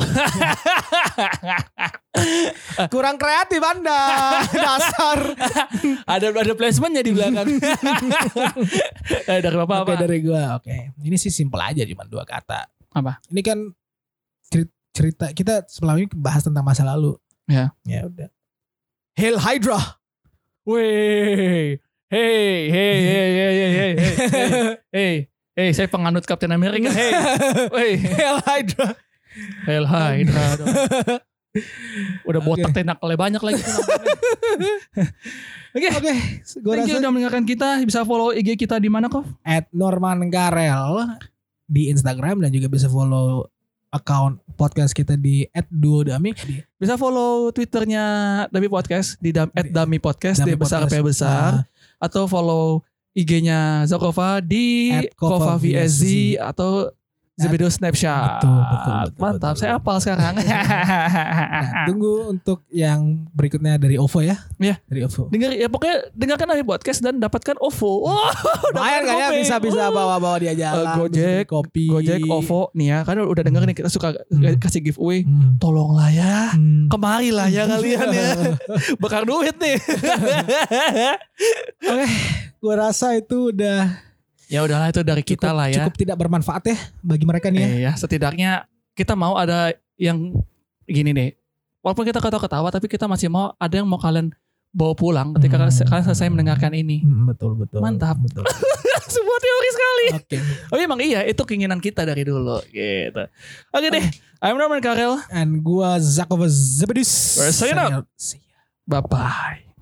Speaker 2: Eh.
Speaker 1: Kurang kreatif Anda. Dasar.
Speaker 2: ada ada placementnya di belakang. eh, dari bapak
Speaker 1: Oke
Speaker 2: apa?
Speaker 1: dari gua. Oke. Ini sih simpel aja cuman dua kata.
Speaker 2: Apa?
Speaker 1: Ini kan ceri- cerita kita sebelum ini bahas tentang masa lalu.
Speaker 2: Ya.
Speaker 1: Ya udah. Hail Hydra.
Speaker 2: Weh, hey, hey, hey, hey, hey, hey, hey, hey, hey, saya penganut Captain America. Hey, hey,
Speaker 1: Hail Hydra.
Speaker 2: Hell Hydra dong. Udah
Speaker 1: Oke.
Speaker 2: botak tenak oleh banyak lagi tuh namanya. Oke.
Speaker 1: Oke, gua
Speaker 2: Thank you
Speaker 1: rasa
Speaker 2: udah mendengarkan kita. Bisa follow IG kita di mana kok?
Speaker 1: at Norman Garel di Instagram dan juga bisa follow account podcast kita di at Duodami di
Speaker 2: Bisa follow Twitternya Dami Podcast di dam, at Dami Podcast
Speaker 1: Dami
Speaker 2: D besar
Speaker 1: Podcast. Nah,
Speaker 2: P besar atau follow IG-nya Zakova di
Speaker 1: At
Speaker 2: Kova
Speaker 1: Kova
Speaker 2: VSZ
Speaker 1: VSZ.
Speaker 2: atau Zebedo Snapchat.
Speaker 1: Betul, betul, betul, betul.
Speaker 2: Mantap, saya hafal sekarang.
Speaker 1: Nah, tunggu untuk yang berikutnya dari OVO ya.
Speaker 2: Iya.
Speaker 1: Dari OVO.
Speaker 2: Dengar Ah, ya pokoknya dengarkan Dami Podcast dan dapatkan OVO. Oh! Wah,
Speaker 1: Lumayan
Speaker 2: dapatkan
Speaker 1: gak ya
Speaker 2: kopi.
Speaker 1: bisa-bisa
Speaker 2: Wah.
Speaker 1: bawa-bawa dia jalan.
Speaker 2: Eh, Gojek,
Speaker 1: bisa beli kopi.
Speaker 2: Gojek, OVO nih ya kan udah denger nih kita suka
Speaker 1: Hmm.
Speaker 2: kasih giveaway.
Speaker 1: Hmm.
Speaker 2: Tolonglah ya,
Speaker 1: Hmm.
Speaker 2: kemari lah ya kalian ya. Bakar duit nih.
Speaker 1: Gua rasa itu udah
Speaker 2: ya udahlah itu dari kita
Speaker 1: cukup,
Speaker 2: lah ya.
Speaker 1: cukup tidak bermanfaat ya bagi mereka nih ya.
Speaker 2: Iya, setidaknya kita mau ada yang gini nih. Walaupun kita ketawa-ketawa tapi kita masih mau ada yang mau kalian bawa pulang ketika
Speaker 1: Hmm.
Speaker 2: kalian selesai mendengarkan ini.
Speaker 1: Hmm, betul betul.
Speaker 2: Mantap.
Speaker 1: Betul.
Speaker 2: Semua teori sekali.
Speaker 1: Oke.
Speaker 2: Oh emang iya, itu keinginan kita dari dulu gitu. Oke deh, I'm Norman Karel.
Speaker 1: And gua Zakova Zebedis.
Speaker 2: We're signing
Speaker 1: Signing out. See ya.
Speaker 2: Bye-bye.